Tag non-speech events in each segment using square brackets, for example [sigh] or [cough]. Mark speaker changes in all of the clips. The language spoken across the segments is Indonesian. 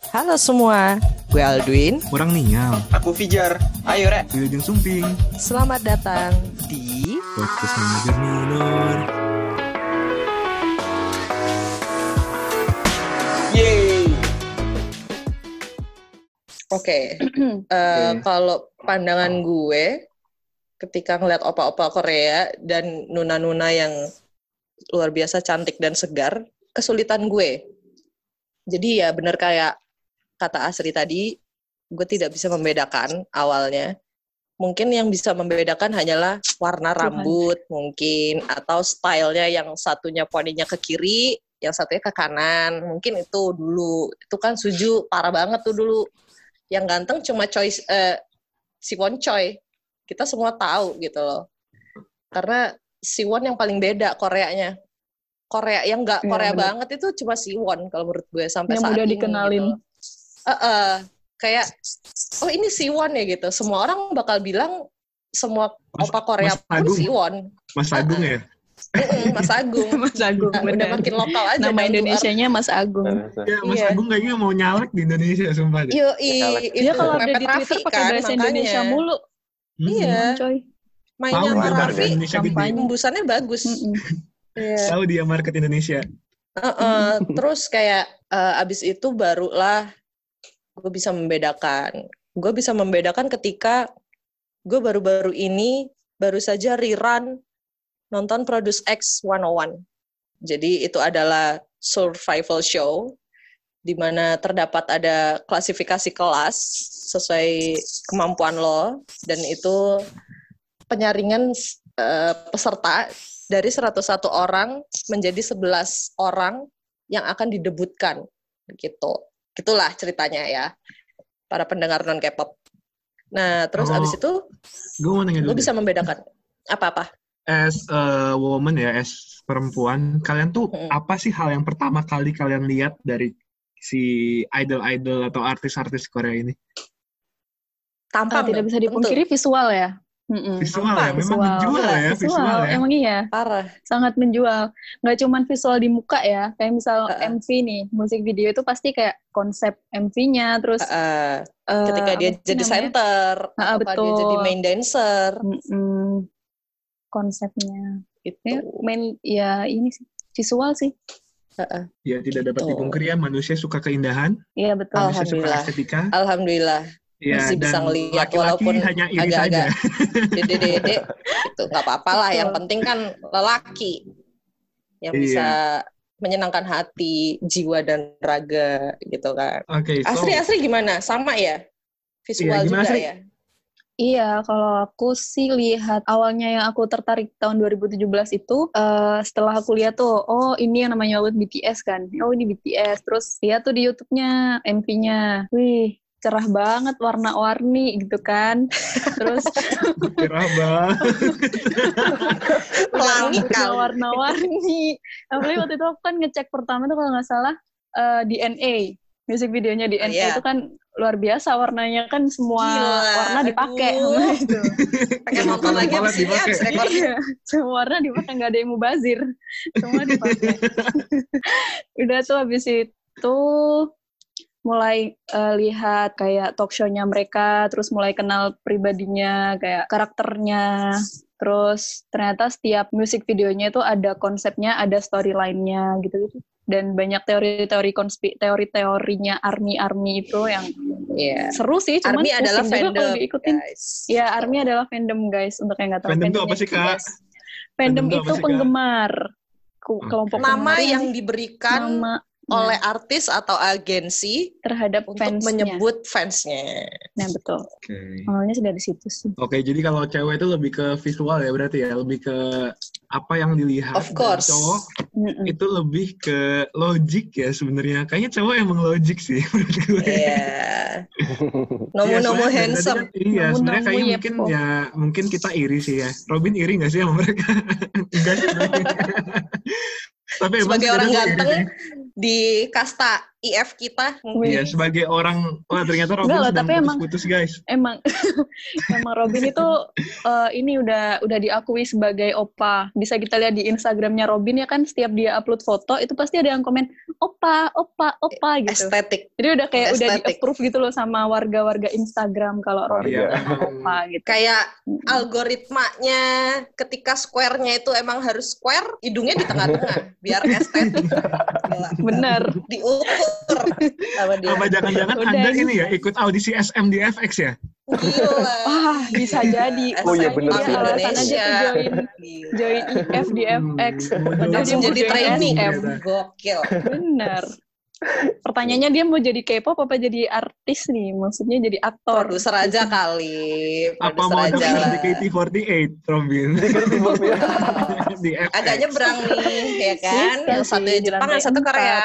Speaker 1: Halo semua, gue Alduin.
Speaker 2: Kurang nial,
Speaker 3: Aku Fijar. Ayo, Rek.
Speaker 2: Wilujeng Sumping,
Speaker 1: Selamat datang di
Speaker 2: podcast manajer minor.
Speaker 3: Yeay.
Speaker 4: Oke, [clears throat] eh, kalau pandangan gue ketika ngeliat opa-opa Korea dan nuna-nuna yang luar biasa cantik dan segar, kesulitan gue. Jadi ya bener kayak kata Asri tadi, gue tidak bisa membedakan awalnya. Mungkin yang bisa membedakan hanyalah warna rambut mungkin, atau stylenya yang satunya poninya ke kiri, yang satunya ke kanan. Mungkin itu dulu. Itu kan Suju parah banget tuh dulu yang ganteng cuma choice eh, Siwon Choi. Kita semua tahu gitu loh. Karena Siwon yang paling beda Koreanya. Korea yang nggak
Speaker 5: Iya,
Speaker 4: Korea
Speaker 5: bener.
Speaker 4: banget itu cuma Siwon kalau menurut gue sampai
Speaker 5: yang
Speaker 4: saat
Speaker 5: mudah
Speaker 4: ini,
Speaker 5: dikenalin.
Speaker 4: gitu. Eh-eh, kayak oh ini Siwon ya gitu. Semua orang bakal bilang semua
Speaker 2: Mas-
Speaker 4: opa Korea
Speaker 2: Mas
Speaker 4: pun
Speaker 2: Agung.
Speaker 4: Siwon.
Speaker 2: Mas Agung ya?
Speaker 4: Mm-mm, Mas
Speaker 5: [laughs]
Speaker 4: Agung.
Speaker 5: Mas Agung,
Speaker 4: Nah, udah
Speaker 5: benar.
Speaker 4: makin lokal aja. kan, down
Speaker 5: Nama
Speaker 4: to earth.
Speaker 5: Indonesianya Mas Agung.
Speaker 2: Ya, Mas
Speaker 4: Iya.
Speaker 2: Agung kayaknya mau nyalek di Indonesia, sumpah deh.
Speaker 4: Yoi,
Speaker 3: Caleg.
Speaker 4: itu
Speaker 5: Dia Ya, kalau ada
Speaker 4: Mepet
Speaker 5: di Twitter
Speaker 4: Raffi
Speaker 5: pakai
Speaker 4: kan,
Speaker 5: bahasa
Speaker 4: makanya.
Speaker 5: Indonesia mulu.
Speaker 2: Hmm.
Speaker 4: Iya.
Speaker 5: Coy.
Speaker 4: Mainnya
Speaker 2: Tahu
Speaker 4: sama
Speaker 2: dia
Speaker 4: Raffi,
Speaker 2: market Indonesia gede.
Speaker 5: kampanye.
Speaker 4: embusannya bagus.
Speaker 5: Mm-mm.
Speaker 4: Iya.
Speaker 2: Tahu dia market Indonesia. [laughs]
Speaker 4: Heeh, terus kayak eh, abis itu barulah gue bisa membedakan. Gue bisa membedakan ketika gue baru-baru ini baru saja rerun nonton Produce X 101. Jadi itu adalah survival show di mana terdapat ada klasifikasi kelas sesuai kemampuan lo dan itu penyaringan eh, peserta dari 101 orang menjadi 11 orang yang akan didebutkan gitu. Gitulah ceritanya ya para pendengar non K-pop. Nah, terus
Speaker 2: Oh,
Speaker 4: abis itu
Speaker 2: Gue mau nanya
Speaker 4: lu
Speaker 2: dulu. deh.
Speaker 4: bisa membedakan apa-apa.
Speaker 2: As a woman ya, as perempuan, kalian tuh
Speaker 4: Mm.
Speaker 2: apa sih hal yang pertama kali kalian lihat dari si idol-idol atau artis-artis Korea ini?
Speaker 5: Ah,
Speaker 4: Tampang
Speaker 5: tidak
Speaker 4: dong,
Speaker 5: bisa
Speaker 4: tentu.
Speaker 5: dipungkiri visual ya. Mm-mm.
Speaker 4: Hmm.
Speaker 2: Visual ya,
Speaker 4: Gampang,
Speaker 2: memang menjual ya,
Speaker 5: Visual,
Speaker 2: visual ya.
Speaker 5: emang iya,
Speaker 4: parah.
Speaker 5: sangat menjual. Nggak cuman visual di muka ya, kayak misal
Speaker 4: Uh-uh.
Speaker 5: MV nih, musik video itu pasti kayak konsep MV-nya, terus
Speaker 4: Heeh,
Speaker 5: eh,
Speaker 4: ketika dia
Speaker 5: apa sih
Speaker 4: jadi
Speaker 5: namanya?
Speaker 4: center,
Speaker 5: Ah, ah,
Speaker 4: apa dia jadi
Speaker 5: betul.
Speaker 4: main dancer
Speaker 5: Mm-mm. konsepnya.
Speaker 4: gitu.
Speaker 5: Ya, main ya ini sih visual sih.
Speaker 4: Heeh.
Speaker 2: Ya, tidak dapat
Speaker 4: Gitu.
Speaker 2: dipungkiri ya, manusia suka keindahan,
Speaker 5: Iya betul.
Speaker 2: manusia suka
Speaker 4: Alhamdulillah.
Speaker 2: estetika.
Speaker 4: Alhamdulillah
Speaker 2: Ya,
Speaker 4: Masih bisa
Speaker 2: dan
Speaker 4: ngeliat,
Speaker 2: laki-laki
Speaker 4: walaupun
Speaker 2: hanya iri saja.
Speaker 4: agak-agak [laughs] dede-dede gitu. nggak apa-apa lah, yang
Speaker 5: Betul.
Speaker 4: penting kan lelaki yang
Speaker 2: Iya.
Speaker 4: bisa menyenangkan hati, jiwa dan raga gitu kan.
Speaker 2: Oke, so [laughs]
Speaker 4: Asri Asri gimana? Sama ya? Visual
Speaker 2: Iya, gimana,
Speaker 4: juga
Speaker 2: Asri?
Speaker 4: ya.
Speaker 5: Iya, kalau aku sih lihat awalnya yang aku tertarik tahun 2017 itu eh, setelah aku lihat tuh, oh ini yang namanya Outfit BTS kan. Oh ini BTS. Terus lihat tuh di YouTube-nya, MV-nya. Wih, cerah banget warna-warni gitu kan. [laughs] Terus
Speaker 2: cerah banget.
Speaker 4: Pelangi
Speaker 5: udah
Speaker 4: kali.
Speaker 5: warna-warni. Apalagi waktu itu aku kan ngecek pertama tuh kalau nggak salah eh, DNA. Music videonya DNA
Speaker 4: Oh, iya.
Speaker 5: itu kan luar biasa warnanya kan semua
Speaker 4: Gila,
Speaker 5: warna dipakai.
Speaker 4: aduh.
Speaker 5: Gitu.
Speaker 4: Pengen nonton lagi
Speaker 2: Kepala
Speaker 4: abis ini
Speaker 2: dipakai.
Speaker 4: abis recording.
Speaker 5: Iya, [laughs] semua warna dipakai nggak ada yang mubazir, semua
Speaker 4: [laughs]
Speaker 5: dipakai. Udah tuh habis itu mulai eh, lihat kayak talk show-nya mereka, terus mulai kenal pribadinya, kayak karakternya. Terus ternyata setiap music videonya itu ada konsepnya, ada storyline-nya gitu-gitu. Dan banyak teori-teori konspi, teori-teorinya army-army itu yang
Speaker 4: Iya.
Speaker 5: seru sih, cuman
Speaker 4: Army
Speaker 5: pusing
Speaker 4: adalah
Speaker 5: juga kalau
Speaker 4: fandom,
Speaker 5: diikutin.
Speaker 4: guys.
Speaker 5: Ya, ARMY adalah fandom guys untuk yang nggak tahu.
Speaker 2: Fandom tuh apa
Speaker 5: Fandomnya
Speaker 2: sih, Kak?
Speaker 5: BTS. Fandom,
Speaker 2: Fandom tuh apa sih,
Speaker 5: itu
Speaker 2: Kak?
Speaker 5: penggemar. Ku-
Speaker 2: Oke.
Speaker 5: Kelompok
Speaker 4: Nama
Speaker 5: penggemar
Speaker 4: yang diberikan
Speaker 5: nama ya,
Speaker 4: oleh artis atau agensi
Speaker 5: terhadap
Speaker 4: untuk
Speaker 5: Iya. fansnya.
Speaker 4: menyebut fansnya.
Speaker 5: Nah, betul.
Speaker 2: Oke.
Speaker 5: Awalnya sudah di situ sih.
Speaker 2: Oke, jadi kalau cewek itu lebih ke visual ya berarti ya, lebih ke apa yang dilihat.
Speaker 4: Of course.
Speaker 2: Dan cowok
Speaker 5: Mm-mm.
Speaker 2: itu lebih ke logik ya sebenarnya. Kayaknya cowok emang logik sih menurut gue.
Speaker 4: [laughs] Iya.
Speaker 2: Iya, [laughs]
Speaker 4: Nomo-nomo
Speaker 2: soalnya dari tadi
Speaker 4: handsome.
Speaker 2: kan- iya,
Speaker 5: Nomo-nomo
Speaker 2: sebenarnya kayaknya
Speaker 5: ya,
Speaker 2: mungkin
Speaker 5: Po.
Speaker 2: ya mungkin kita iri sih ya. Robin iri nggak sih sama mereka? [laughs] Enggak sih. Tapi emang
Speaker 4: Sebagai orang
Speaker 2: kadang gue iri
Speaker 4: ganteng
Speaker 2: sih.
Speaker 4: di kasta IF kita.
Speaker 2: Iya, sebagai orang wah ternyata Robin
Speaker 5: Enggak loh,
Speaker 2: sedang
Speaker 5: tapi emang-
Speaker 2: putus-putus, guys.
Speaker 5: Emang [laughs] emang Robin itu eh, ini udah udah diakui sebagai opa. Bisa kita lihat di Instagramnya Robin ya kan setiap dia upload foto itu pasti ada yang komen opa, opa, opa gitu.
Speaker 4: Estetik.
Speaker 5: Jadi udah kayak udah di
Speaker 4: Estetik.
Speaker 5: approve gitu loh sama warga-warga Instagram kalau Robin
Speaker 2: [laughs] Iya,
Speaker 5: itu emang
Speaker 2: emang.
Speaker 5: opa gitu.
Speaker 4: Kayak algoritmanya ketika square-nya itu emang harus square, hidungnya di tengah-tengah biar
Speaker 2: [laughs]
Speaker 4: estetik.
Speaker 2: Iya.
Speaker 4: Gila.
Speaker 5: bener.
Speaker 4: Diukur sama dia.
Speaker 2: Apa jangan-jangan
Speaker 5: Iya. Udah,
Speaker 2: Anda
Speaker 5: ini-
Speaker 2: ini ya ikut audisi SM di FX ya?
Speaker 4: Gila.
Speaker 5: Wah, bisa jadi.
Speaker 4: Oh iya,
Speaker 5: Makanya
Speaker 4: bener
Speaker 5: dia
Speaker 4: sih.
Speaker 5: alasan aja
Speaker 4: Indonesia.
Speaker 5: tuh join
Speaker 4: Gila.
Speaker 5: join IF di FX.
Speaker 2: Hmm,
Speaker 5: Padahal
Speaker 4: Langsung
Speaker 5: dia mau
Speaker 4: jadi
Speaker 5: join
Speaker 4: training.
Speaker 2: Iya,
Speaker 5: SM.
Speaker 4: Gokil.
Speaker 5: Bener. Pertanyaannya dia mau jadi K-pop apa jadi artis nih? Maksudnya jadi aktor.
Speaker 4: Produser aja kali.
Speaker 2: Apa
Speaker 4: Produser
Speaker 2: mau
Speaker 4: aja
Speaker 2: daftar
Speaker 4: lah.
Speaker 2: di KT48,
Speaker 4: [laughs]
Speaker 2: Robin? di FX.
Speaker 4: Ada nyebrang nih,
Speaker 2: Iya
Speaker 4: ya kan?
Speaker 5: Bisa
Speaker 4: Yang satu
Speaker 5: sih, di
Speaker 4: Jepang, yang
Speaker 5: lantai
Speaker 4: satu Korea.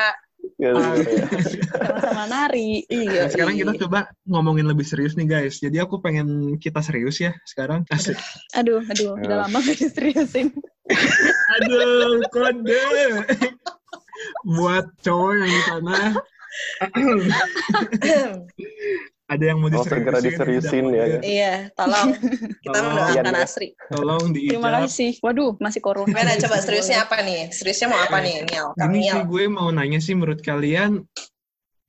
Speaker 5: Sama-sama nari.
Speaker 4: Iya.
Speaker 2: Nah, sekarang kita
Speaker 4: iya.
Speaker 2: coba ngomongin lebih serius nih guys. Jadi aku pengen kita serius ya sekarang. Asik.
Speaker 5: Aduh, aduh.
Speaker 4: Ya.
Speaker 5: Udah lama gak diseriusin.
Speaker 2: Aduh, kode. Buat cowok yang di
Speaker 4: [laughs]
Speaker 2: sana ada yang mau
Speaker 6: Oh,
Speaker 2: diseriusin.
Speaker 6: segera
Speaker 2: ada
Speaker 6: diseriusin
Speaker 2: yang
Speaker 6: ya,
Speaker 2: mau-
Speaker 6: guys.
Speaker 4: Iya, tolong. Kita
Speaker 2: Tolong.
Speaker 4: mendoakan
Speaker 6: Iya,
Speaker 4: Asri.
Speaker 2: Tolong
Speaker 4: Iya.
Speaker 2: diijab.
Speaker 5: Terima kasih. Waduh, masih corona. [laughs]
Speaker 4: Gimana coba seriusnya apa nih? Seriusnya mau apa nih, Niel? Kang
Speaker 2: Iya. Ini
Speaker 4: Niel.
Speaker 2: sih gue mau nanya sih menurut kalian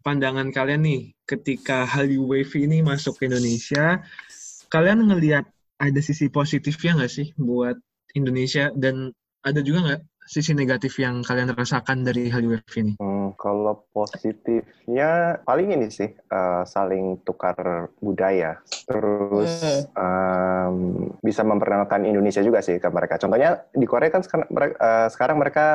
Speaker 2: pandangan kalian nih ketika Hallyu Wave ini masuk ke Indonesia, kalian ngelihat ada sisi positifnya nggak sih buat Indonesia dan ada juga nggak sisi negatif yang kalian rasakan dari Hallyu Wave ini?
Speaker 6: Hmm, kalau positifnya paling ini sih eh, saling tukar budaya, terus em, bisa memperkenalkan Indonesia juga sih ke mereka. Contohnya di Korea kan sekarang mereka, sekarang mereka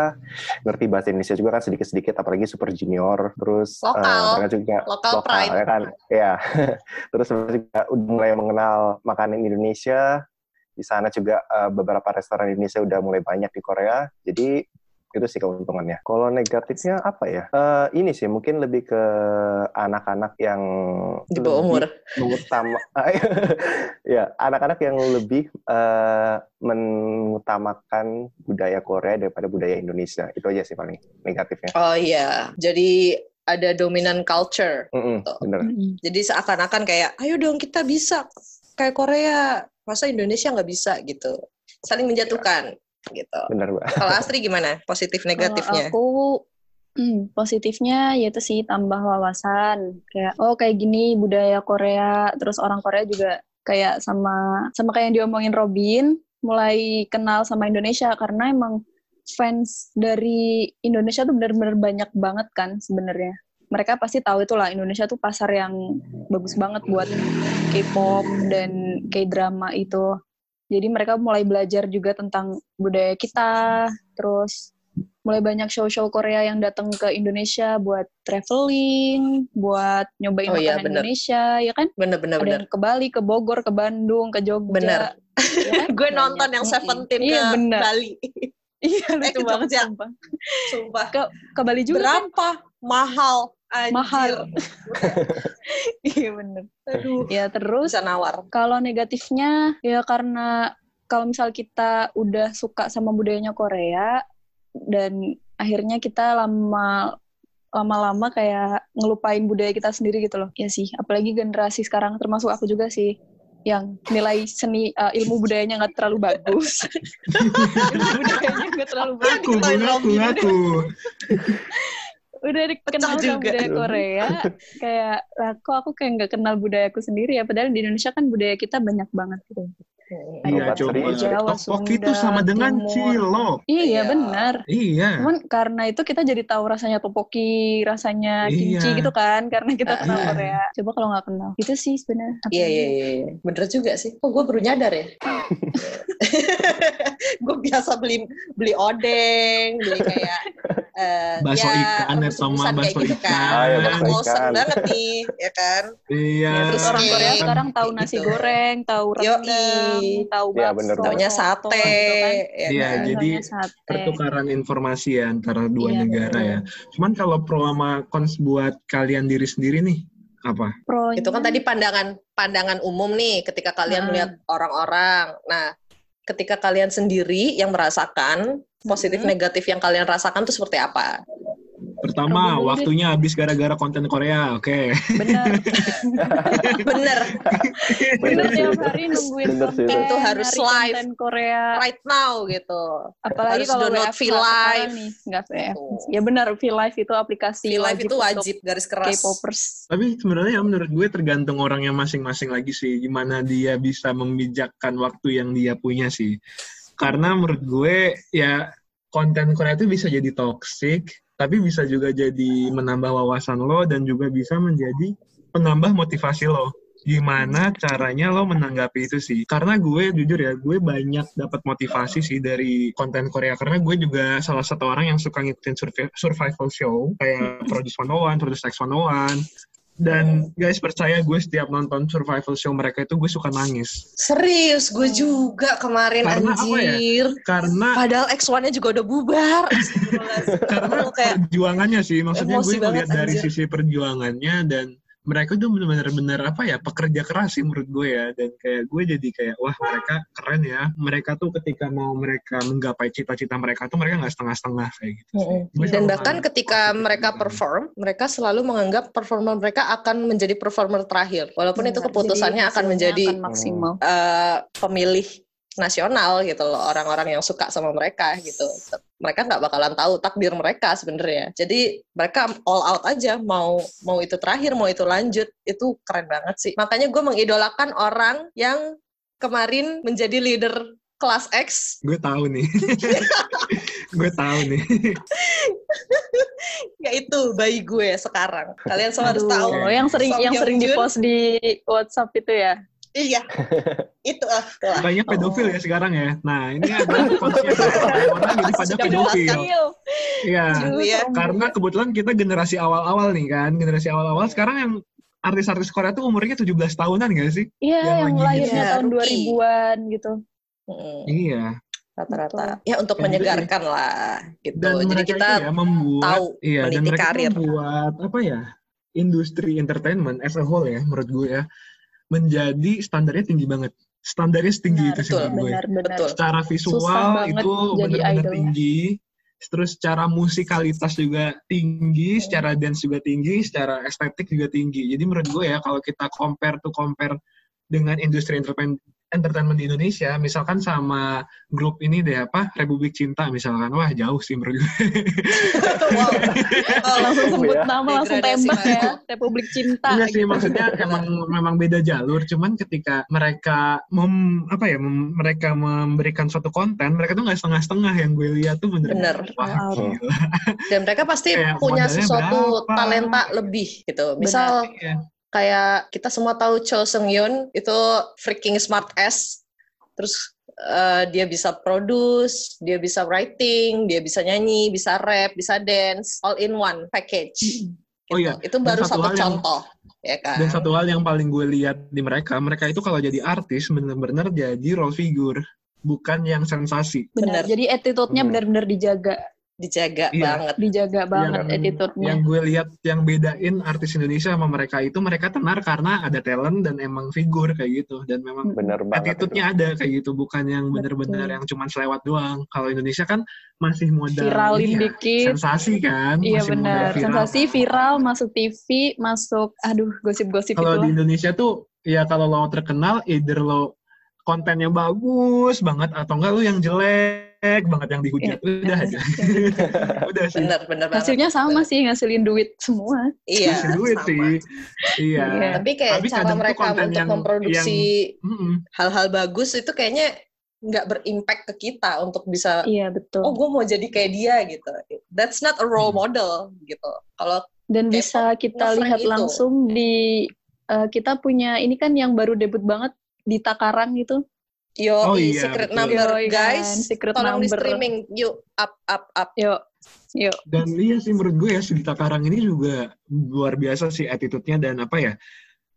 Speaker 6: ngerti bahasa Indonesia juga kan sedikit-sedikit, apalagi Super Junior, terus eh,
Speaker 4: Lokal.
Speaker 6: mereka juga
Speaker 4: Local pride.
Speaker 6: ya kan, ya. [laughs] terus mereka juga udah mulai mengenal makanan Indonesia. Di sana juga eh, beberapa restoran Indonesia udah mulai banyak di Korea. Jadi itu sih keuntungannya. Kalau negatifnya apa ya? Eh, ini sih mungkin lebih ke anak-anak yang
Speaker 4: Di bawah
Speaker 6: lebih
Speaker 4: umur.
Speaker 6: mengutama [laughs] ya anak-anak yang lebih eh, mengutamakan budaya Korea daripada budaya Indonesia itu aja sih paling negatifnya.
Speaker 4: Oh iya. Jadi ada dominan culture.
Speaker 6: Mm-mm, bener.
Speaker 5: Mm-mm.
Speaker 4: Jadi seakan-akan kayak, ayo dong kita bisa kayak Korea, masa Indonesia nggak bisa gitu. Saling menjatuhkan gitu.
Speaker 6: Bener, Mbak.
Speaker 2: Iya.
Speaker 4: Kalau Astri gimana? Positif
Speaker 5: Kalau
Speaker 4: negatifnya?
Speaker 5: aku hmm, positifnya yaitu sih tambah wawasan kayak oh kayak gini budaya Korea terus orang Korea juga kayak sama sama kayak yang diomongin Robin mulai kenal sama Indonesia karena emang fans dari Indonesia tuh benar-benar banyak banget kan sebenarnya mereka pasti tahu itulah Indonesia tuh pasar yang bagus banget buat K-pop dan K-drama itu jadi mereka mulai belajar juga tentang budaya kita terus mulai banyak show-show Korea yang datang ke Indonesia buat traveling, buat nyobain
Speaker 4: Oh iya, bener.
Speaker 5: makanan
Speaker 4: Iya,
Speaker 5: Indonesia, ya kan? Ada
Speaker 4: Bener-bener.
Speaker 5: yang ke Bali, ke Bogor, ke Bandung, ke Jogja.
Speaker 4: Bener.
Speaker 5: Ya kan?
Speaker 4: [laughs] Gue
Speaker 5: Banyak.
Speaker 4: nonton yang
Speaker 5: Mm-mm.
Speaker 4: Seventeen
Speaker 5: iya,
Speaker 4: ke
Speaker 5: bener.
Speaker 4: Bali.
Speaker 5: [laughs]
Speaker 4: Eh,
Speaker 5: Iya, lucu
Speaker 4: ke
Speaker 5: banget
Speaker 4: Jogja.
Speaker 5: sumpah.
Speaker 4: Sumpah.
Speaker 5: Ke Bali juga kan?
Speaker 4: Berapa? Mahal. Anjir.
Speaker 5: Mahal. [laughs] iya, bener.
Speaker 4: Aduh.
Speaker 5: Ya, terus
Speaker 4: Bisa nawar.
Speaker 5: Kalau negatifnya ya karena kalau misal kita udah suka sama budayanya Korea dan akhirnya kita lama lama-lama kayak ngelupain budaya kita sendiri gitu loh. Ya sih, apalagi generasi sekarang termasuk aku juga sih yang nilai seni eh, ilmu budayanya nggak terlalu
Speaker 2: [laughs]
Speaker 5: bagus. budayanya nggak terlalu bagus.
Speaker 2: Aku,
Speaker 4: Kita
Speaker 2: Bun, aku,
Speaker 4: Robin.
Speaker 2: aku.
Speaker 5: Udah kenal sama
Speaker 4: juga.
Speaker 5: budaya Korea, kayak lah, kok aku kayak nggak kenal budayaku sendiri ya. Padahal di Indonesia kan budaya kita banyak banget gitu.
Speaker 2: Iya,
Speaker 6: Obat
Speaker 2: coba.
Speaker 6: serius.
Speaker 5: Jawa,
Speaker 2: Tokpok
Speaker 5: Sunda,
Speaker 2: itu sama dengan
Speaker 5: Timur.
Speaker 2: cilok.
Speaker 5: Iya,
Speaker 4: Iya.
Speaker 5: benar.
Speaker 2: Iya.
Speaker 5: Cuman karena itu kita jadi tahu rasanya topoki, rasanya kimchi
Speaker 2: Iya.
Speaker 5: gitu kan, karena kita kenal
Speaker 2: Iya.
Speaker 5: Korea. Coba kalau nggak kenal, itu sih sebenarnya. Apa
Speaker 4: Iya,
Speaker 5: sih?
Speaker 4: iya, iya. iya. Bener juga sih. Kok gue baru nyadar
Speaker 5: [laughs]
Speaker 4: ya? gue biasa beli beli odeng, beli kayak eh,
Speaker 2: Bakso
Speaker 4: ya,
Speaker 2: ikan,
Speaker 4: rebus-rebusan
Speaker 2: Toma,
Speaker 4: kayak
Speaker 2: bakso
Speaker 4: gitu kan.
Speaker 2: ikan.
Speaker 6: Ah, ya,
Speaker 4: Udah
Speaker 6: bakso
Speaker 4: bosen
Speaker 6: ikan.
Speaker 4: banget nih, ya kan?
Speaker 2: Iya.
Speaker 5: Terus orang Korea
Speaker 4: Iya.
Speaker 5: sekarang tahu nasi
Speaker 4: Gitu.
Speaker 5: goreng, tahu
Speaker 4: Yoi.
Speaker 5: rendang, tahu
Speaker 6: Iya,
Speaker 5: bakso,
Speaker 6: bener.
Speaker 4: Taunya
Speaker 5: soto,
Speaker 4: sate,
Speaker 5: gitu kan.
Speaker 4: ya
Speaker 2: Iya,
Speaker 4: kan?
Speaker 2: jadi
Speaker 5: Taunya sate.
Speaker 2: pertukaran informasi ya antara dua
Speaker 5: Iya,
Speaker 2: negara ya. Cuman kalau pro sama cons buat kalian diri sendiri nih apa?
Speaker 5: Pronya-
Speaker 4: itu kan
Speaker 5: [laughs]
Speaker 4: tadi pandangan pandangan umum nih ketika kalian
Speaker 5: Hmm.
Speaker 4: melihat orang-orang nah ketika kalian sendiri yang merasakan positif
Speaker 5: Hmm.
Speaker 4: negatif yang kalian rasakan itu seperti apa
Speaker 2: Pertama,
Speaker 5: Kamu dulu deh.
Speaker 2: waktunya habis gara-gara konten Korea. Oke.
Speaker 4: Bener, bener.
Speaker 5: Kita
Speaker 6: Bener sih.
Speaker 5: tiap hari nungguin
Speaker 6: Bener sih
Speaker 5: konten,
Speaker 6: itu.
Speaker 4: Itu harus
Speaker 5: nyari
Speaker 4: live.
Speaker 5: konten Korea.
Speaker 4: Right now gitu.
Speaker 5: Apalagi
Speaker 4: Harus
Speaker 5: kalau
Speaker 4: download
Speaker 5: WFH
Speaker 4: V-Live.
Speaker 5: sekarang nih, nggak VF. Ya benar, V-Live itu aplikasi
Speaker 4: Di live itu
Speaker 5: untuk
Speaker 4: wajib garis keras.
Speaker 5: K-popers.
Speaker 2: Tapi sebenarnya ya menurut gue tergantung orangnya masing-masing lagi sih. Gimana dia bisa membijakkan waktu yang dia punya sih. Karena menurut gue ya konten Korea itu bisa jadi toxic. Tapi bisa juga jadi menambah wawasan lo dan juga bisa menjadi penambah motivasi lo. Gimana caranya lo menanggapi itu sih? Karena gue jujur ya, gue banyak dapat motivasi sih dari konten Korea. Karena gue juga salah satu orang yang suka ngikutin survi- survival show kayak Produce 101, Produce X 101. Dan guys percaya gue setiap nonton survival show mereka itu gue suka nangis.
Speaker 4: Serius, gue
Speaker 5: Hmm.
Speaker 4: juga kemarin
Speaker 2: Karena apa ya?
Speaker 4: anjir. [laughs]
Speaker 2: Karena
Speaker 4: Padahal X1-nya juga udah
Speaker 5: [laughs]
Speaker 4: bubar.
Speaker 2: karena
Speaker 4: Lu kayak
Speaker 2: perjuangannya sih maksudnya
Speaker 4: Emosi
Speaker 2: gue ngeliat
Speaker 4: banget,
Speaker 2: dari
Speaker 4: anjir.
Speaker 2: sisi perjuangannya dan mereka tuh bener-bener bener apa ya pekerja keras sih menurut gue ya dan kayak gue jadi kayak wah mereka keren ya mereka tuh ketika mau mereka menggapai cita-cita mereka tuh mereka nggak setengah-setengah kayak gitu sih.
Speaker 4: Mm-mm.
Speaker 2: Gue
Speaker 4: Dan
Speaker 2: selalu
Speaker 4: bahkan
Speaker 2: nganggap
Speaker 4: ketika
Speaker 2: positif gitu.
Speaker 4: mereka
Speaker 2: tentang-
Speaker 4: perform, mereka selalu menganggap performer mereka akan menjadi performer terakhir. Walaupun itu
Speaker 5: Benar,
Speaker 4: keputusannya
Speaker 5: Iya, jadi
Speaker 4: akan
Speaker 5: hasilnya
Speaker 4: menjadi
Speaker 5: akan maksimal.
Speaker 4: eh, pemilih nasional gitu loh, orang-orang yang suka sama mereka gitu. Mereka nggak bakalan tahu takdir mereka sebenarnya. Jadi mereka all out aja mau mau itu terakhir, mau itu lanjut, itu keren banget sih. Makanya gue mengidolakan orang yang kemarin menjadi leader kelas X
Speaker 2: gue tahu
Speaker 4: [laughs]
Speaker 2: nih [laughs] gue tahu nih
Speaker 4: yaitu bayi gue sekarang. Kalian semua harus
Speaker 5: Aduh,
Speaker 4: tahu.
Speaker 5: yang sering
Speaker 4: Song
Speaker 5: yang sering
Speaker 4: Hyun-jun.
Speaker 5: di-post di WhatsApp itu ya.
Speaker 4: Iya.
Speaker 2: [laughs]
Speaker 4: itu ah, itu ah.
Speaker 2: banyak pedofil ya sekarang ya nah ini
Speaker 4: [laughs]
Speaker 2: adalah konsep orang jadi pada
Speaker 5: Sudah
Speaker 4: kan.
Speaker 2: pedofil
Speaker 5: pedofil.
Speaker 4: Nah,
Speaker 2: iya
Speaker 4: Aduh, ya.
Speaker 2: karena kebetulan kita generasi awal-awal nih kan generasi awal-awal sekarang yang artis-artis Korea tuh umurnya 17 tahunan gak sih?
Speaker 5: Iya,
Speaker 2: Yang
Speaker 5: yang
Speaker 2: lagi
Speaker 5: lahirnya
Speaker 4: gitu.
Speaker 5: tahun
Speaker 4: Iya, rookie.
Speaker 5: 2000-an gitu.
Speaker 4: Mm,
Speaker 2: Iya.
Speaker 4: rata-rata. Ya untuk
Speaker 2: Yang
Speaker 4: menyegarkan lah gitu.
Speaker 2: Dan
Speaker 4: Jadi
Speaker 2: mereka
Speaker 4: kita
Speaker 2: itu ya membuat
Speaker 4: tahu
Speaker 2: iya dan
Speaker 4: meniti
Speaker 2: mereka tuh
Speaker 4: karir.
Speaker 2: membuat apa ya? Industri entertainment as a whole ya menurut gue ya menjadi standarnya tinggi banget. Standarnya setinggi
Speaker 5: Benar,
Speaker 2: itu sih
Speaker 4: Nah, betul,
Speaker 2: menurut gue.
Speaker 5: Nah, benar, benar.
Speaker 4: betul.
Speaker 2: Secara
Speaker 5: Susah
Speaker 2: visual
Speaker 5: banget
Speaker 2: itu
Speaker 5: jadi ya.
Speaker 2: benar-benar
Speaker 5: idolnya.
Speaker 2: tinggi. Terus secara musikalitas juga tinggi,
Speaker 5: Iya.
Speaker 2: secara dance juga tinggi, secara estetik juga tinggi. Jadi menurut gue ya kalau kita compare to compare dengan industri entertain- entertainment di Indonesia, misalkan sama grup ini deh apa Republik Cinta misalkan, wah jauh sih menurut gue.
Speaker 4: [laughs]
Speaker 2: [laughs]
Speaker 4: wow. Wow,
Speaker 5: Langsung sebut
Speaker 6: Iya.
Speaker 5: nama, langsung
Speaker 4: Degradasi
Speaker 5: tembak ya.
Speaker 4: banget.
Speaker 5: Republik Cinta.
Speaker 2: Enggak ya. Iya sih
Speaker 5: gitu.
Speaker 2: maksudnya emang memang beda jalur, cuman ketika mereka mem, apa ya mem- mereka memberikan suatu konten, mereka tuh nggak setengah-setengah yang gue lihat tuh bener.
Speaker 4: Bener.
Speaker 2: Wah,
Speaker 5: Wow.
Speaker 2: gila.
Speaker 4: Dan mereka pasti
Speaker 2: Kayak
Speaker 4: punya
Speaker 2: modalnya
Speaker 4: sesuatu
Speaker 2: berapa?
Speaker 4: talenta lebih gitu. Misal
Speaker 2: Iya.
Speaker 4: kayak kita semua tahu Cho Seung Yoon itu freaking smart ass terus eh, dia bisa produce, dia bisa writing, dia bisa nyanyi, bisa rap, bisa dance, all in one package.
Speaker 2: Oh
Speaker 4: Gitu.
Speaker 2: iya,
Speaker 4: itu
Speaker 2: dan
Speaker 4: baru
Speaker 2: satu
Speaker 4: satu
Speaker 2: hal yang-
Speaker 4: contoh, ya kan?
Speaker 2: Dan satu hal yang paling gue lihat di mereka, mereka itu kalau jadi artis bener-bener jadi role figure, bukan yang sensasi.
Speaker 5: Benar.
Speaker 4: Benar.
Speaker 5: Jadi attitude-nya
Speaker 6: Hmm.
Speaker 5: benar-benar dijaga,
Speaker 4: Dijaga
Speaker 2: Iya.
Speaker 4: banget.
Speaker 5: dijaga banget
Speaker 2: Yang-
Speaker 5: attitude-nya.
Speaker 2: Yang gue lihat yang bedain artis Indonesia sama mereka itu mereka tenar karena ada talent dan emang figur kayak gitu dan memang
Speaker 6: [laughs]
Speaker 5: Hmm.
Speaker 6: Bener banget. itu.
Speaker 2: attitude-nya ada kayak gitu, bukan yang bener-bener
Speaker 5: Betul.
Speaker 2: yang cuman selewat doang. Kalau Indonesia kan masih modal
Speaker 5: Viralin
Speaker 2: ini ya,
Speaker 5: dikit.
Speaker 2: sensasi kan,
Speaker 5: Iya
Speaker 2: masih modal
Speaker 5: benar.
Speaker 2: viral.
Speaker 5: Sensasi viral masuk TV, masuk aduh gosip-gosip
Speaker 4: gitu
Speaker 2: kalau di
Speaker 5: itu.
Speaker 2: Indonesia tuh ya kalau lo terkenal either lo kontennya bagus banget atau enggak lo yang jelek banget yang
Speaker 4: Iya.
Speaker 2: dihujat udah
Speaker 4: [laughs]
Speaker 2: aja udah sih
Speaker 4: Bener, bener banget. gitu.
Speaker 5: Hasilnya sama sih ngasilin duit semua.
Speaker 4: Iya,
Speaker 2: Masih duit
Speaker 4: sama.
Speaker 2: sih iya
Speaker 5: Iya.
Speaker 4: Tapi kayak
Speaker 2: Tapi
Speaker 4: cara
Speaker 2: kadang tuh
Speaker 4: mereka
Speaker 2: konten
Speaker 4: untuk
Speaker 2: yang-
Speaker 4: memproduksi
Speaker 2: Mm-mm.
Speaker 4: hal-hal bagus itu kayaknya nggak berimpact ke kita untuk bisa
Speaker 5: Iya betul.
Speaker 4: oh gue mau jadi kayak dia gitu that's not a
Speaker 2: Hmm.
Speaker 4: role model gitu kalau
Speaker 5: Dan
Speaker 4: K-pop
Speaker 5: bisa kita
Speaker 4: eh, oh, ngeframe
Speaker 5: lihat
Speaker 4: itu.
Speaker 5: langsung di eh, kita punya ini kan yang baru debut banget di gitu. Takarang itu.
Speaker 4: yo
Speaker 2: Oh
Speaker 4: i
Speaker 2: iya,
Speaker 4: secret
Speaker 2: betul.
Speaker 4: number
Speaker 5: Yoi,
Speaker 4: guys
Speaker 5: kan, secret
Speaker 4: tolong di
Speaker 5: number.
Speaker 4: streaming yuk up up up
Speaker 5: Yuk, yuk.
Speaker 2: dan iya sih menurut gue ya Sudita Karang ini juga luar biasa sih attitude-nya dan apa ya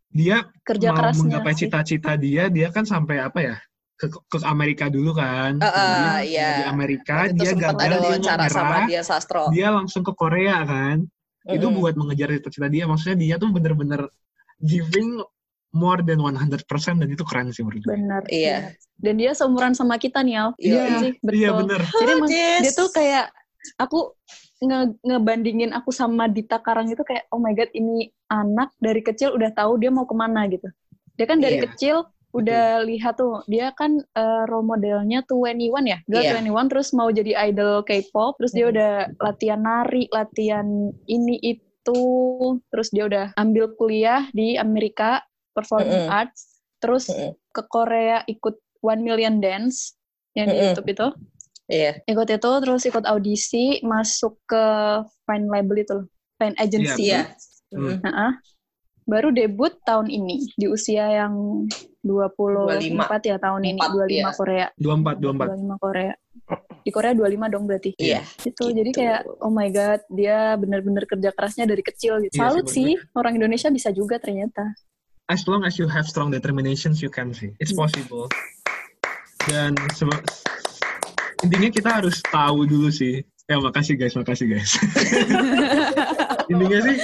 Speaker 2: dia mau
Speaker 5: Kerja kerasnya.
Speaker 2: menggapai
Speaker 5: sih.
Speaker 2: cita-cita dia dia kan sampai apa ya ke ke Amerika dulu kan
Speaker 4: Ah, ah,
Speaker 2: Kemudian
Speaker 4: iya.
Speaker 2: di Amerika
Speaker 4: Waktu itu
Speaker 2: Kan dia
Speaker 4: sempat
Speaker 2: gagal
Speaker 4: ada
Speaker 2: dia
Speaker 4: wawancara
Speaker 2: mau
Speaker 4: sama
Speaker 2: nyerah,
Speaker 4: dia sastro
Speaker 2: dia langsung ke Korea kan itu
Speaker 4: Mm-mm.
Speaker 2: buat mengejar cita-cita dia maksudnya dia tuh bener-bener giving more than 100% dan itu keren sih menurut gue
Speaker 5: Benar.
Speaker 4: Iya.
Speaker 5: Dan dia seumuran sama kita nih Al.
Speaker 4: Iya.
Speaker 5: sih, betul.
Speaker 2: iya bener
Speaker 5: Jadi
Speaker 4: Oh,
Speaker 5: emang
Speaker 4: Jess.
Speaker 5: dia tuh kayak aku nge- ngebandingin aku sama Dita Karang itu kayak oh my god ini anak dari kecil udah tahu dia mau kemana gitu. Dia kan dari
Speaker 2: Iya.
Speaker 5: kecil udah lihat tuh dia kan eh, role modelnya tuh 21 ya, girl
Speaker 4: Iya.
Speaker 5: 21 terus mau jadi idol K-pop, terus dia
Speaker 4: Mhm.
Speaker 5: udah latihan nari, latihan ini itu, terus dia udah ambil kuliah di Amerika performing
Speaker 4: Mhm.
Speaker 5: arts, terus
Speaker 4: Mm-mm.
Speaker 5: ke Korea ikut One Million Dance yang di
Speaker 4: Mm-mm.
Speaker 5: YouTube itu
Speaker 4: Iya.
Speaker 5: ikut itu terus ikut audisi masuk ke fine label itu loh fine agency
Speaker 4: Iya.
Speaker 5: ya
Speaker 2: Hmm.
Speaker 5: Nah, ah. baru debut tahun ini di usia yang 24 ya tahun ini
Speaker 4: 24,
Speaker 5: 25
Speaker 4: iya.
Speaker 5: Korea
Speaker 2: 24, 24.
Speaker 5: 25 Korea di Korea 25 dong berarti
Speaker 4: Iya.
Speaker 5: itu
Speaker 4: gitu.
Speaker 5: jadi kayak oh my god dia bener-bener kerja kerasnya dari kecil gitu
Speaker 2: Iya sih,
Speaker 5: salut
Speaker 2: bener.
Speaker 5: sih orang Indonesia bisa juga ternyata
Speaker 2: As long as you have strong determinations, you can sih. It's possible. Dan sebe- intinya kita harus tahu dulu sih. Ya, makasih guys, makasih guys. intinya sih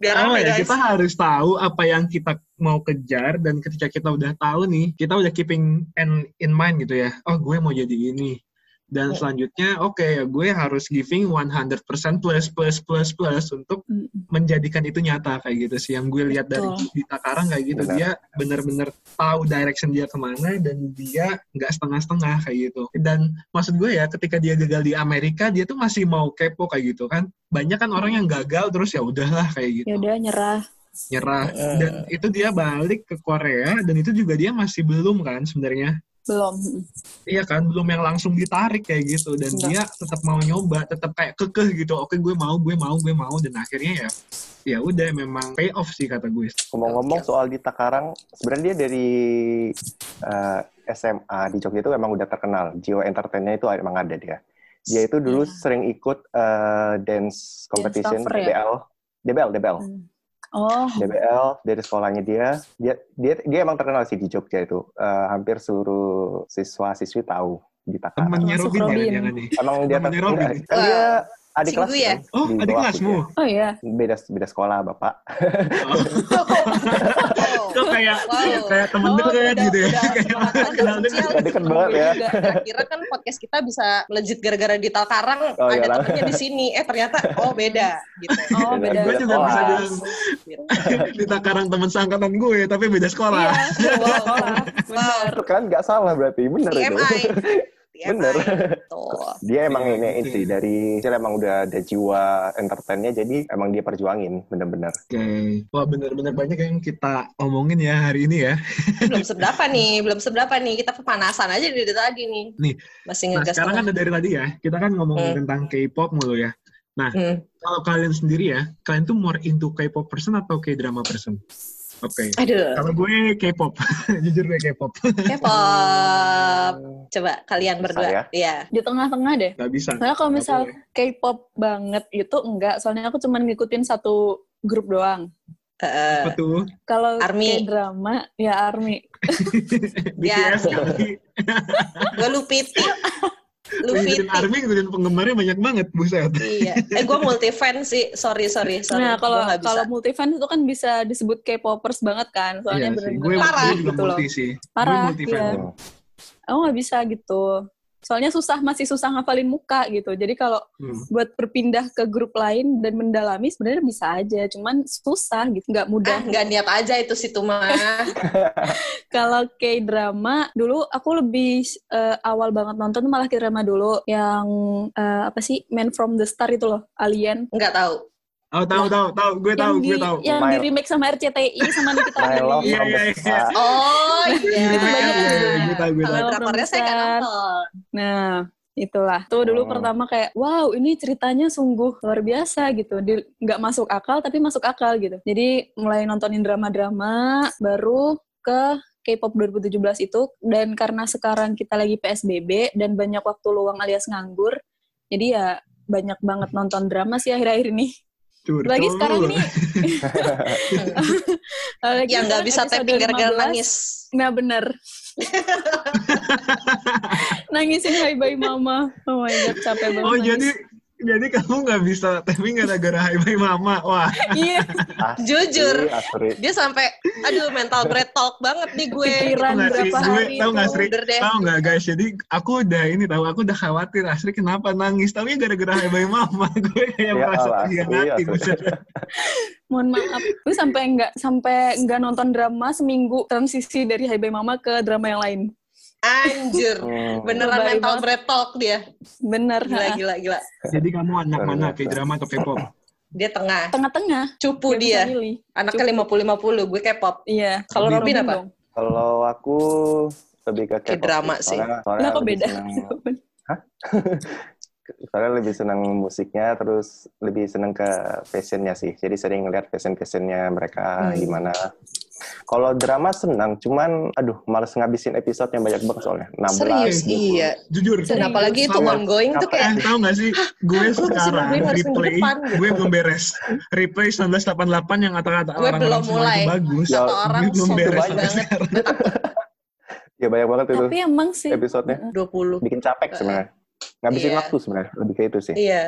Speaker 4: Biar
Speaker 2: Apa
Speaker 4: rame,
Speaker 2: ya,
Speaker 4: guys.
Speaker 2: kita harus tahu apa yang kita mau kejar dan ketika kita udah tahu nih, kita udah keeping an in mind gitu ya. Oh, gue mau jadi ini. Dan
Speaker 4: Mm.
Speaker 2: selanjutnya, oke ya gue harus giving 100% plus plus plus plus untuk
Speaker 5: Mm-mm.
Speaker 2: menjadikan itu nyata kayak gitu sih. Yang gue lihat dari
Speaker 5: Betul.
Speaker 2: Dita Karang kayak gitu,
Speaker 6: Benar.
Speaker 2: dia bener-bener tahu direction dia kemana dan dia nggak setengah-setengah kayak gitu. Dan maksud gue ya, ketika dia gagal di Amerika, dia tuh masih mau kepo kayak gitu kan. Banyak kan orang yang gagal terus ya udahlah kayak gitu
Speaker 5: ya udah nyerah
Speaker 2: nyerah
Speaker 5: Eh.
Speaker 4: Heeh.
Speaker 2: dan itu dia balik ke Korea dan itu juga dia masih belum kan sebenarnya
Speaker 5: belum
Speaker 2: iya kan belum yang langsung ditarik kayak gitu dan dia
Speaker 5: Enggak.
Speaker 2: tetap mau nyoba tetap kayak kekeh gitu oke gue mau gue mau gue mau dan akhirnya ya ya udah memang pay off sih kata gue
Speaker 6: Ngomong-ngomong
Speaker 5: Iya.
Speaker 6: soal Dita Karang, sebenarnya dia dari eh, SMA di Jogja itu emang udah terkenal. Jiwa entertainnya itu emang ada dia. Dia itu dulu
Speaker 5: Iya.
Speaker 6: sering ikut eh, dance competition
Speaker 5: cover ya?
Speaker 6: DBL, DBL, DBL,
Speaker 5: oh
Speaker 6: DBL dari sekolahnya dia. Dia dia dia emang terkenal sih di Jogja itu. Eh, hampir seluruh siswa siswi tahu Dita Karang.
Speaker 2: temennya
Speaker 5: Masuk
Speaker 2: Robin
Speaker 5: Robin.
Speaker 2: jangan jangan nih
Speaker 6: Emang dia
Speaker 2: Temennya
Speaker 6: terkenal.
Speaker 2: Robin.
Speaker 6: Kan dia adik
Speaker 4: Singgu
Speaker 6: kelas
Speaker 4: ya?
Speaker 6: kan,
Speaker 2: oh
Speaker 6: di
Speaker 2: adik
Speaker 6: bawahku
Speaker 2: kelasmu
Speaker 6: dia.
Speaker 5: oh ya
Speaker 6: Beda beda sekolah bapak.
Speaker 2: Oh,
Speaker 4: Oh.
Speaker 2: itu kayak
Speaker 4: Wow.
Speaker 2: kayak temen
Speaker 5: Oh,
Speaker 2: deket
Speaker 5: udah-
Speaker 2: gitu ya
Speaker 5: udah-
Speaker 2: Kayak [laughs]
Speaker 5: udah-
Speaker 2: orang kenal
Speaker 4: udah-
Speaker 2: deket.
Speaker 6: Udah deket banget ya.
Speaker 4: Juga. Kira-kira kan podcast kita bisa melejit gara-gara di Talkarang
Speaker 6: Oh, iya
Speaker 4: ada
Speaker 6: lah.
Speaker 4: temennya di sini. Eh ternyata oh beda
Speaker 2: [laughs]
Speaker 4: gitu.
Speaker 5: oh
Speaker 6: Beda-
Speaker 5: beda
Speaker 2: Gue juga bisa
Speaker 6: sekolah.
Speaker 2: bilang
Speaker 4: Gitu.
Speaker 2: [laughs] Dita Karang temen seangkatan gue tapi beda sekolah
Speaker 5: Iya, wow, benar.
Speaker 6: kan nggak salah berarti bener itu.
Speaker 5: ya?
Speaker 4: TMI. TMI.
Speaker 6: Bener.
Speaker 4: Tuh.
Speaker 6: Dia emang
Speaker 2: Iya,
Speaker 6: ini
Speaker 2: gitu
Speaker 6: sih
Speaker 2: ya.
Speaker 6: dari kecil emang udah ada jiwa entertainnya jadi emang dia perjuangin bener-bener.
Speaker 2: Oke, wah bener-bener banyak yang kita omongin ya hari ini ya.
Speaker 4: belum seberapa nih, belum seberapa nih. Kita kepanasan aja dari tadi nih.
Speaker 2: Nih.
Speaker 4: Masih
Speaker 2: Nah
Speaker 4: ngegas
Speaker 2: sekarang kan dari tadi ya, kita kan ngomongin
Speaker 4: Hmm.
Speaker 2: tentang K-pop mulu ya.
Speaker 4: tengah. Hmm.
Speaker 2: Kalau kalian sendiri ya, kalian tuh more into K-pop person atau K-drama person? Oke,
Speaker 4: Aduh,
Speaker 2: kalau gue K-pop, [laughs] jujur gue K-pop.
Speaker 4: K-pop. Coba kalian berdua. Iya.
Speaker 5: Di tengah-tengah deh.
Speaker 2: Gak bisa.
Speaker 5: Soalnya kalau
Speaker 2: Nggak
Speaker 5: misal
Speaker 2: boleh.
Speaker 5: K-pop banget itu enggak, soalnya aku cuman ngikutin satu grup doang.
Speaker 4: Heeh.
Speaker 2: Apa tuh?
Speaker 5: Kalau
Speaker 4: Army.
Speaker 5: K-drama ya ARMY.
Speaker 4: Ya.
Speaker 2: BTS kali.
Speaker 4: Gue
Speaker 2: [laughs]
Speaker 4: Lupiti. Lupiti.
Speaker 2: Ngikutin ARMY, ngikutin penggemarnya banyak banget, buset.
Speaker 4: iya. Eh gue multi fan sih. Sorry, sorry, sorry.
Speaker 5: Nah, kalau
Speaker 4: Gua nggak bisa. Ah,
Speaker 5: kalau multifans itu kan bisa disebut K-popers banget kan,
Speaker 2: Iya sih,
Speaker 5: soalnya
Speaker 2: gue,
Speaker 5: bener-bener
Speaker 4: Parah
Speaker 2: gue
Speaker 5: gitu
Speaker 2: juga
Speaker 5: loh.
Speaker 2: multi sih.
Speaker 5: Parah,
Speaker 2: gue multi fan.
Speaker 5: iya.
Speaker 6: Hmm.
Speaker 5: Aku nggak bisa gitu. Soalnya susah masih susah ngafalin muka gitu. Jadi kalau
Speaker 2: Hmm.
Speaker 5: buat berpindah ke grup lain dan mendalami sebenarnya bisa aja, cuman susah gitu, nggak
Speaker 4: Ah,
Speaker 5: mudah.
Speaker 4: nggak niat aja itu situ mah.
Speaker 5: Kalau K-drama dulu aku lebih eh, awal banget nonton tuh malah K-drama dulu yang eh, apa sih Man from the Star itu loh, Alien.
Speaker 4: Nggak tahu.
Speaker 2: Oh, tahu, tahu, tahu. Gue tahu,
Speaker 5: yang di ya,
Speaker 2: gue tahu.
Speaker 5: yang
Speaker 6: My-
Speaker 5: di remake sama RCTI sama Nikita
Speaker 6: My love
Speaker 5: Willy.
Speaker 2: Iya,
Speaker 6: from the
Speaker 2: iya, iya.
Speaker 6: star.
Speaker 5: [laughs]
Speaker 4: Oh iya.
Speaker 5: Itu banyak juga.
Speaker 2: Gue tahu, gue tahu.
Speaker 4: Kalau drakornya saya nggak nonton.
Speaker 5: Nah, itulah. Tuh dulu
Speaker 6: Oh.
Speaker 5: pertama kayak wow, ini ceritanya sungguh luar biasa gitu. Di- nggak masuk akal tapi masuk akal gitu. Jadi mulai nontonin drama-drama baru ke K-pop 2017 itu dan karena sekarang kita lagi PSBB dan banyak waktu luang alias nganggur. Jadi ya banyak banget nonton drama sih akhir-akhir ini.
Speaker 2: Curcol
Speaker 5: Lagi sekarang
Speaker 2: lu. [laughs]
Speaker 5: ini [laughs] lagi
Speaker 4: Yang nggak
Speaker 5: sekarang
Speaker 4: bisa
Speaker 5: episode
Speaker 4: tapping gara-gara
Speaker 5: 15.
Speaker 4: nangis.
Speaker 5: Nah
Speaker 2: [laughs]
Speaker 5: bener Nangisin bye bye mama Oh my god capek banget
Speaker 2: Oh
Speaker 5: nangis.
Speaker 2: jadi Jadi kamu nggak bisa timing gara-gara Hai Bye Mama. Wah,
Speaker 5: [laughs] Iya,
Speaker 6: Asli,
Speaker 2: Iya.
Speaker 4: Jujur.
Speaker 6: asli.
Speaker 4: Dia sampai, aduh mental bread talk banget nih gue.
Speaker 5: Pikiran
Speaker 2: Tahu nggak sih,
Speaker 5: berapa
Speaker 2: gue
Speaker 5: hari
Speaker 2: tahu nggak
Speaker 5: itu.
Speaker 2: sih,
Speaker 4: Bener deh.
Speaker 2: tahu nggak guys? Jadi aku udah ini tahu, aku udah khawatir Asri kenapa nangis. Tapi gara-gara Hai Bye [laughs] Mama, gue kayak
Speaker 6: Ya
Speaker 2: merasa
Speaker 6: Allah,
Speaker 2: terhianati.
Speaker 6: iya,
Speaker 2: buset.
Speaker 5: mohon maaf. Gue sampai nggak sampai nggak nonton drama seminggu transisi dari Hai Bye Mama ke drama yang lain.
Speaker 4: Anjir.
Speaker 6: Hmm.
Speaker 4: Beneran
Speaker 5: Lebay
Speaker 4: mental
Speaker 5: banget.
Speaker 4: bread talk dia.
Speaker 5: Bener.
Speaker 4: Gila,
Speaker 5: ha.
Speaker 4: gila, gila.
Speaker 2: Jadi kamu anak
Speaker 6: Luar
Speaker 2: mana?
Speaker 6: biasa.
Speaker 2: K-drama atau K-pop?
Speaker 4: Dia tengah.
Speaker 5: Tengah-tengah.
Speaker 4: Cupu
Speaker 5: Nggak bisa
Speaker 4: dia.
Speaker 5: milih.
Speaker 4: Anaknya 50-50, gue K-pop.
Speaker 5: Iya.
Speaker 4: Kalau
Speaker 2: Robin
Speaker 4: Robin apa?
Speaker 5: dong.
Speaker 6: Kalau aku lebih ke K-pop
Speaker 4: K-drama sih.
Speaker 6: Soalnya,
Speaker 5: Lah
Speaker 6: soalnya
Speaker 5: kok
Speaker 6: lebih
Speaker 5: beda?
Speaker 6: seneng- soalnya lebih senang musiknya, terus lebih senang ke fashionnya sih. Jadi sering ngeliat fashion-fashionnya mereka
Speaker 4: Hmm.
Speaker 6: gimana. Kalau drama senang, cuman aduh males ngabisin episode yang banyak banget soalnya. gitu. 16,
Speaker 4: Serius,
Speaker 6: 20.
Speaker 4: iya.
Speaker 2: Jujur.
Speaker 4: Dan apalagi itu
Speaker 2: Sama.
Speaker 4: ongoing tuh
Speaker 2: Eh,
Speaker 4: kayak,
Speaker 2: tahu gak sih, gue
Speaker 4: harus
Speaker 2: sekarang
Speaker 4: nungguin, harus minggu
Speaker 2: replay,
Speaker 4: depan, gitu.
Speaker 2: gue belum beres. Replay 1988 yang kata-kata
Speaker 4: Gue belum
Speaker 2: orang-orang semua
Speaker 4: mulai.
Speaker 2: itu bagus.
Speaker 6: Ya,
Speaker 4: kata orang
Speaker 2: gue belum
Speaker 4: sombong
Speaker 2: beres sampai
Speaker 4: banget.
Speaker 2: sekarang.
Speaker 6: Ya banyak banget itu
Speaker 5: Tapi emang sih.
Speaker 6: episodenya. [laughs]
Speaker 4: 20.
Speaker 6: Bikin capek sebenarnya. Ngabisin
Speaker 4: Iya.
Speaker 6: waktu sebenarnya, lebih ke itu sih.
Speaker 4: Iya.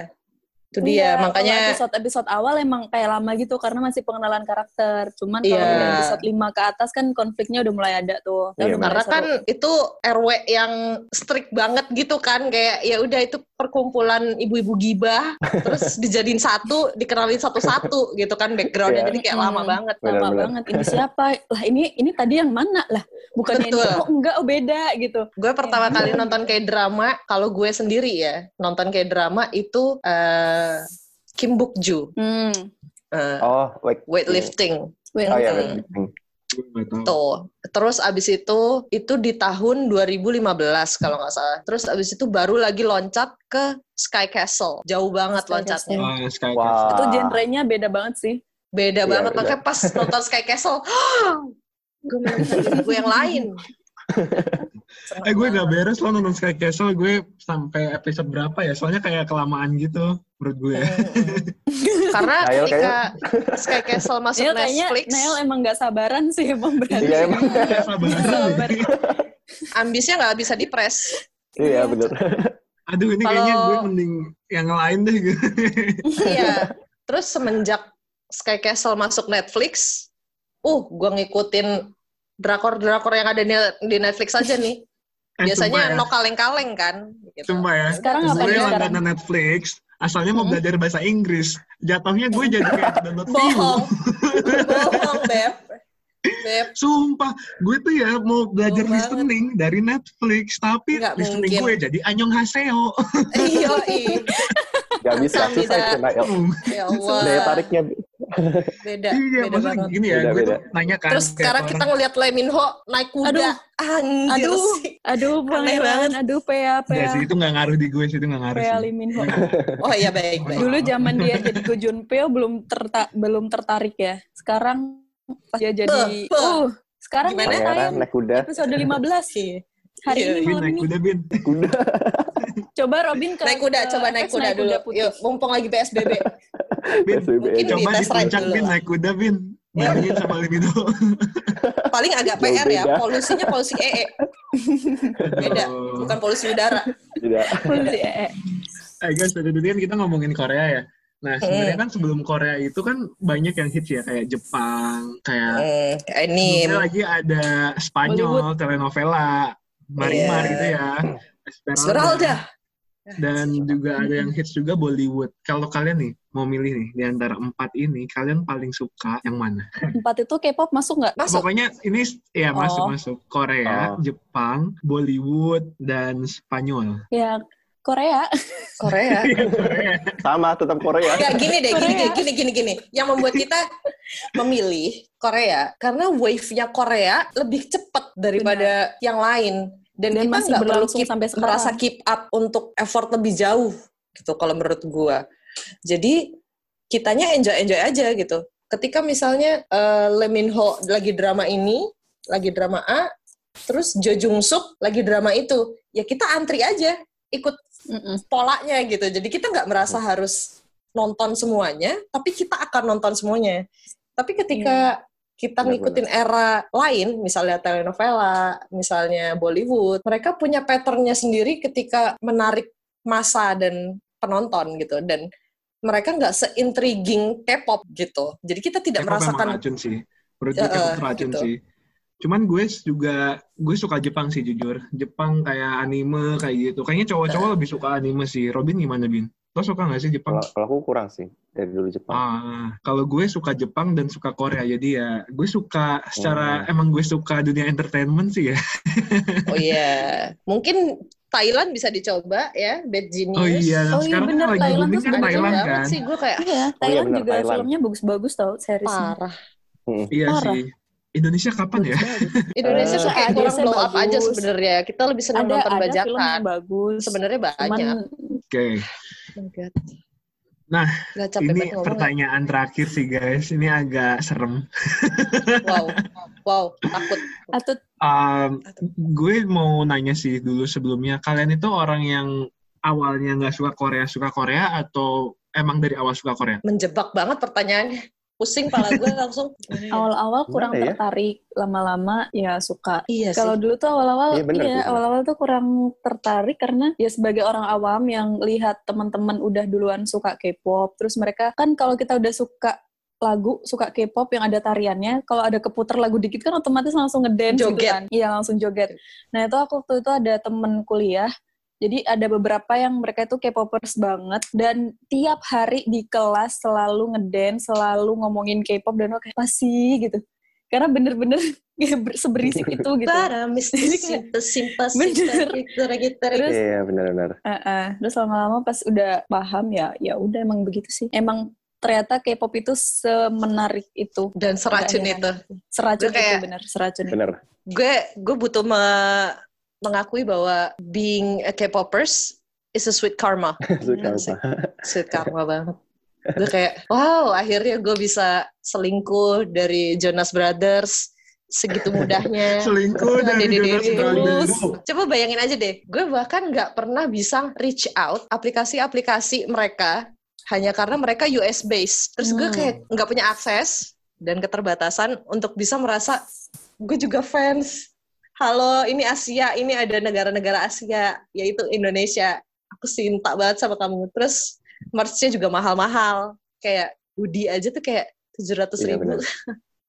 Speaker 4: Itu dia, makanya
Speaker 5: episode episode awal emang kayak lama gitu karena masih pengenalan karakter. Cuman kalau
Speaker 4: Iya.
Speaker 5: udah episode 5 ke atas kan konfliknya udah mulai ada tuh.
Speaker 6: Iya,
Speaker 5: Udah mulai
Speaker 4: karena
Speaker 5: seru.
Speaker 4: kan itu RW yang strict banget gitu kan kayak ya udah itu perkumpulan ibu-ibu
Speaker 6: [laughs]
Speaker 4: gibah terus dijadiin satu dikenalin satu-satu gitu kan backgroundnya
Speaker 6: Iya.
Speaker 4: jadi kayak lama
Speaker 5: Mm.
Speaker 4: banget
Speaker 5: lama
Speaker 6: Benar-benar.
Speaker 5: banget ini siapa lah ini ini tadi yang mana lah bukannya ini
Speaker 4: Betul.
Speaker 5: oh enggak oh beda gitu
Speaker 4: gue
Speaker 6: Iya.
Speaker 4: pertama kali nonton kayak drama kalau gue sendiri ya nonton kayak drama itu eh, Kim Buk Ju
Speaker 5: hmm.
Speaker 4: eh,
Speaker 6: Oh, like
Speaker 4: weightlifting
Speaker 5: Wait,
Speaker 6: Oh ya,
Speaker 4: Hmm.
Speaker 6: weightlifting.
Speaker 2: Gue nggak tahu.
Speaker 4: Tuh. Gitu. Terus abis itu, itu di tahun 2015 kalau nggak salah. Terus abis itu baru lagi loncat ke Sky Castle. Jauh banget
Speaker 5: Sky
Speaker 4: loncatnya.
Speaker 5: Castle.
Speaker 2: Ah, Sky Castle.
Speaker 6: Wah.
Speaker 5: itu genrenya beda banget sih
Speaker 4: Beda
Speaker 6: Iya,
Speaker 4: banget.
Speaker 6: beda.
Speaker 4: Makanya pas nonton Sky Castle, [gasps] gue menemukan diri gue yang
Speaker 6: [laughs]
Speaker 4: lain. Seneng
Speaker 2: Eh gue
Speaker 4: banget.
Speaker 2: gak beres loh nonton Sky Castle, gue sampai episode berapa ya? Soalnya kayak kelamaan gitu menurut gue.
Speaker 4: Iya. Mm-mm. Karena
Speaker 6: Nail
Speaker 4: ketika Sky Castle masuk
Speaker 5: Nail kayaknya
Speaker 4: Netflix,
Speaker 5: Nail emang nggak sabaran sih emang berarti
Speaker 6: Iya emang.
Speaker 2: Kayak sabar.
Speaker 5: Sabar.
Speaker 4: ambisnya nggak bisa dipres.
Speaker 6: Iya benar.
Speaker 2: Aduh ini
Speaker 4: Kalau-
Speaker 2: kayaknya gue mending yang lain deh. gitu.
Speaker 4: Iya. Terus semenjak Sky Castle masuk Netflix, uh, gue ngikutin drakor-drakor yang ada di- di Netflix aja nih.
Speaker 2: [laughs] Eh, sumpah
Speaker 4: Biasanya
Speaker 2: ya.
Speaker 4: no kaleng-kaleng kan. gitu.
Speaker 2: Sumpah ya.
Speaker 5: Sekarang
Speaker 2: gue
Speaker 5: apa nih sekarang?
Speaker 2: langganan Netflix, asalnya mau
Speaker 5: Hmm.
Speaker 2: belajar bahasa Inggris. Jatuhnya gue jadi kayak
Speaker 4: [laughs]
Speaker 2: download view. [laughs]
Speaker 4: Bohong. Bohong, Beb. Beb,
Speaker 2: Sumpah, gue tuh ya mau belajar
Speaker 4: Bohong banget.
Speaker 2: listening dari Netflix, tapi
Speaker 4: Nggak
Speaker 2: listening
Speaker 4: mungkin.
Speaker 2: gue jadi anyong haseo.
Speaker 4: iyo
Speaker 6: Gak bisa
Speaker 4: Kamsahamnida.
Speaker 6: susah itu naik.
Speaker 4: Ya
Speaker 6: Daya
Speaker 4: Allah.
Speaker 6: tariknya
Speaker 4: Beda.
Speaker 2: [laughs] iya,
Speaker 4: Beda
Speaker 2: maksudnya
Speaker 4: banget.
Speaker 2: gini ya, gue
Speaker 6: Beda-beda.
Speaker 2: tuh nanya kan.
Speaker 4: Terus
Speaker 2: kayak
Speaker 4: sekarang
Speaker 2: orang-
Speaker 4: kita ngeliat Leminho naik kuda. Anjir
Speaker 5: Aduh.
Speaker 4: sih.
Speaker 5: aduh pangeran
Speaker 4: banget.
Speaker 5: aduh pea
Speaker 2: Nggak
Speaker 5: pea
Speaker 2: sih, itu nggak ngaruh di gue sih, itu nggak ngaruh
Speaker 5: pea
Speaker 2: sih.
Speaker 5: Liminho
Speaker 4: Oh iya baik-baik.
Speaker 5: dulu zaman dia jadi Go Junpyo belum terta belum tertarik ya sekarang pas dia jadi
Speaker 4: Beuh, beuh.
Speaker 5: uh sekarang
Speaker 4: Gimana?
Speaker 5: dia
Speaker 6: pangeran
Speaker 5: tayang
Speaker 6: naik kuda,
Speaker 5: episode 15
Speaker 4: Iya.
Speaker 5: hari
Speaker 4: Iya,
Speaker 5: ini
Speaker 2: Bin,
Speaker 5: malam
Speaker 2: naik
Speaker 5: ini
Speaker 2: kuda, Bin.
Speaker 6: kuda.
Speaker 5: coba Robin ke
Speaker 4: Naik kuda,
Speaker 5: ke
Speaker 4: coba naik
Speaker 5: X,
Speaker 4: kuda dulu.
Speaker 5: putih. [laughs]
Speaker 4: Yuk, mumpung lagi PSBB. [laughs]
Speaker 2: Bin,
Speaker 6: SBB.
Speaker 4: mungkin
Speaker 2: coba di
Speaker 4: dites ride
Speaker 2: puncak,
Speaker 4: dulu
Speaker 2: Bin,
Speaker 4: lah.
Speaker 2: naik kuda, Bin. Bandingin sama Libido.
Speaker 4: paling agak
Speaker 6: Jauh
Speaker 4: PR ya
Speaker 6: beda.
Speaker 4: polusinya polusi EE beda bukan polusi udara
Speaker 6: Tidak.
Speaker 5: Putih, eh, eh.
Speaker 2: Eh guys, tadi tadi kan kita ngomongin Korea ya. Nah, sebenarnya kan sebelum Korea itu kan banyak yang hits ya, kayak Jepang, kayak
Speaker 6: Eh,
Speaker 4: hmm, ini
Speaker 2: sebelumnya lagi ada Spanyol,
Speaker 5: Bollywood.
Speaker 2: telenovela, Marimar
Speaker 4: Iya.
Speaker 2: gitu ya. Esmeralda.
Speaker 4: Esmeralda
Speaker 2: Dan juga ada yang hits juga Bollywood. Kalau kalian nih, mau milih nih, di antara empat ini, kalian paling suka yang mana?
Speaker 5: empat itu K-pop masuk nggak
Speaker 4: masuk
Speaker 2: Pokoknya ini ya
Speaker 5: Oh.
Speaker 2: masuk-masuk. Korea,
Speaker 6: Oh.
Speaker 2: Jepang, Bollywood, dan Spanyol.
Speaker 5: ya Korea
Speaker 4: Korea
Speaker 2: Korea.
Speaker 6: Sama tetap Korea.
Speaker 4: Gak gini deh, gini
Speaker 5: Korea.
Speaker 4: deh, gini gini gini. Yang membuat kita memilih Korea karena wave-nya Korea lebih cepat daripada yang lain dan,
Speaker 5: Dan
Speaker 4: kita
Speaker 5: masih
Speaker 4: nggak perlu
Speaker 5: berlangsung
Speaker 4: keep-
Speaker 5: sampai sekarang.
Speaker 4: merasa keep up untuk effort lebih jauh gitu kalau menurut gua. Jadi kitanya enjoy-enjoy aja gitu. Ketika misalnya eh, Lee Min Ho lagi drama ini, lagi drama A, terus Jo Jung Suk lagi drama itu, ya kita antri aja ikut
Speaker 5: Mm-mm.
Speaker 4: polanya gitu. Jadi kita nggak merasa
Speaker 2: Iya.
Speaker 4: harus nonton semuanya, tapi kita akan nonton semuanya. Tapi ketika
Speaker 2: Iya.
Speaker 4: kita
Speaker 6: Benar-benar.
Speaker 4: ngikutin era lain, misalnya telenovela, misalnya Bollywood, mereka punya patternnya sendiri ketika menarik masa dan penonton gitu dan mereka nggak seintriguing K-pop gitu. Jadi kita tidak
Speaker 2: K-pop
Speaker 4: merasakan
Speaker 2: emang Eh, racun sih. Menurut gue
Speaker 4: Ya,
Speaker 2: K-pop
Speaker 4: eh,
Speaker 2: racun
Speaker 4: gitu.
Speaker 2: sih. Cuman gue juga gue suka Jepang sih jujur. Jepang kayak anime kayak gitu. Kayaknya cowok-cowok lebih suka anime sih. Robin gimana Bin? Lo suka gak sih Jepang?
Speaker 6: Kalau kalau aku kurang sih dari dulu Jepang.
Speaker 2: Ah, kalau gue suka Jepang dan suka Korea jadi ya gue suka secara emang gue suka dunia entertainment sih ya.
Speaker 4: oh iya mungkin Thailand bisa dicoba ya Bad Genius.
Speaker 2: Oh iya,
Speaker 5: Oh iya,
Speaker 2: sekarang
Speaker 5: bener,
Speaker 2: kan lagi
Speaker 5: Thailand
Speaker 2: booming
Speaker 5: tuh
Speaker 2: kan
Speaker 5: sebenarnya
Speaker 2: Thailand
Speaker 4: banget
Speaker 2: kan.
Speaker 4: sih gue kayak
Speaker 5: Iya, Thailand
Speaker 6: benar,
Speaker 5: juga
Speaker 6: Thailand.
Speaker 5: filmnya bagus-bagus tau, seriesnya.
Speaker 4: parah.
Speaker 6: Mm-mm.
Speaker 2: Iya
Speaker 5: Parah.
Speaker 2: sih. Indonesia kapan ya?
Speaker 5: Bagus-bagus.
Speaker 4: Indonesia
Speaker 6: Eh,
Speaker 4: tuh kayak
Speaker 5: ada
Speaker 4: kurang
Speaker 5: sih
Speaker 4: blow up
Speaker 5: bagus.
Speaker 4: aja sebenarnya. ya. Kita lebih senang
Speaker 5: Ada
Speaker 4: nonton
Speaker 5: ada film
Speaker 4: bajakan.
Speaker 5: yang bagus.
Speaker 4: Sebenarnya
Speaker 5: Cuman
Speaker 4: banyak.
Speaker 2: Oke.
Speaker 4: Oh my God.
Speaker 2: Nah,
Speaker 4: Gak capek
Speaker 2: Ini
Speaker 4: banget ngomong. ya.
Speaker 2: pertanyaan terakhir sih guys. Ini agak serem.
Speaker 4: Wow, wow, takut.
Speaker 5: atau
Speaker 2: Um, gue mau nanya sih dulu sebelumnya, kalian itu orang yang awalnya nggak suka Korea suka Korea atau emang dari awal suka Korea?
Speaker 4: Menjebak banget pertanyaannya. Pusing pala gue
Speaker 5: [laughs]
Speaker 4: langsung.
Speaker 5: Iya.
Speaker 4: Oh,
Speaker 5: awal-awal kurang
Speaker 6: Gimana ya?
Speaker 5: tertarik, lama-lama ya suka.
Speaker 4: Iya sih.
Speaker 5: Kalau dulu tuh awal-awal,
Speaker 6: Iya, bener,
Speaker 5: iya
Speaker 6: bener.
Speaker 5: awal-awal tuh kurang tertarik karena ya sebagai orang awam yang lihat teman-teman udah duluan suka K-pop, terus mereka kan kalau kita udah suka lagu suka K-pop yang ada tariannya, kalau ada keputer lagu dikit kan otomatis langsung ngedance gitu
Speaker 4: Joget.
Speaker 5: kan, iya langsung joget. Nah itu aku waktu itu ada temen kuliah. Jadi ada beberapa yang mereka itu K-popers banget dan tiap hari di kelas selalu ngedance, selalu ngomongin K-pop dan aku kayak pasti gitu. Karena bener-bener [laughs] ya seberisik itu gitu.
Speaker 4: Para mistis,
Speaker 5: Jadi
Speaker 4: simpas,
Speaker 5: Bener.
Speaker 4: gitu,
Speaker 5: Terus-
Speaker 6: Iya benar-benar.
Speaker 5: Heeh. Terus lama-lama pas udah paham ya, ya udah emang begitu sih. Emang ternyata K-pop itu semenarik itu,
Speaker 4: Dan seracun
Speaker 5: Nggak
Speaker 4: itu.
Speaker 5: heran. seracun
Speaker 4: Gue kayak-
Speaker 5: itu bener, seracun.
Speaker 6: Benar.
Speaker 4: Gue gue butuh me- mengakui bahwa being a K-popers is a [laughs] sweet karma.
Speaker 6: [laughs] Suka Iya,
Speaker 4: Bener
Speaker 6: apa?
Speaker 4: sih. Sweet karma banget. Gue kayak, wow, akhirnya gue bisa selingkuh dari Jonas Brothers segitu
Speaker 2: [laughs]
Speaker 4: mudahnya.
Speaker 2: Selingkuh
Speaker 4: Ada
Speaker 2: dari
Speaker 4: di
Speaker 2: Jonas
Speaker 4: diri
Speaker 2: Brothers.
Speaker 5: terus.
Speaker 4: Coba bayangin aja deh, gue bahkan nggak pernah bisa reach out aplikasi-aplikasi mereka hanya karena mereka US based. Terus gue
Speaker 5: Hmm.
Speaker 4: kayak nggak punya akses dan keterbatasan untuk bisa merasa gue juga fans. Halo, ini Asia, ini ada negara-negara Asia, yaitu Indonesia. Aku cinta banget sama kamu. Terus merch-nya juga mahal-mahal. Kayak hoodie aja tuh kayak 700
Speaker 6: Iya,
Speaker 4: ribu.
Speaker 6: benar.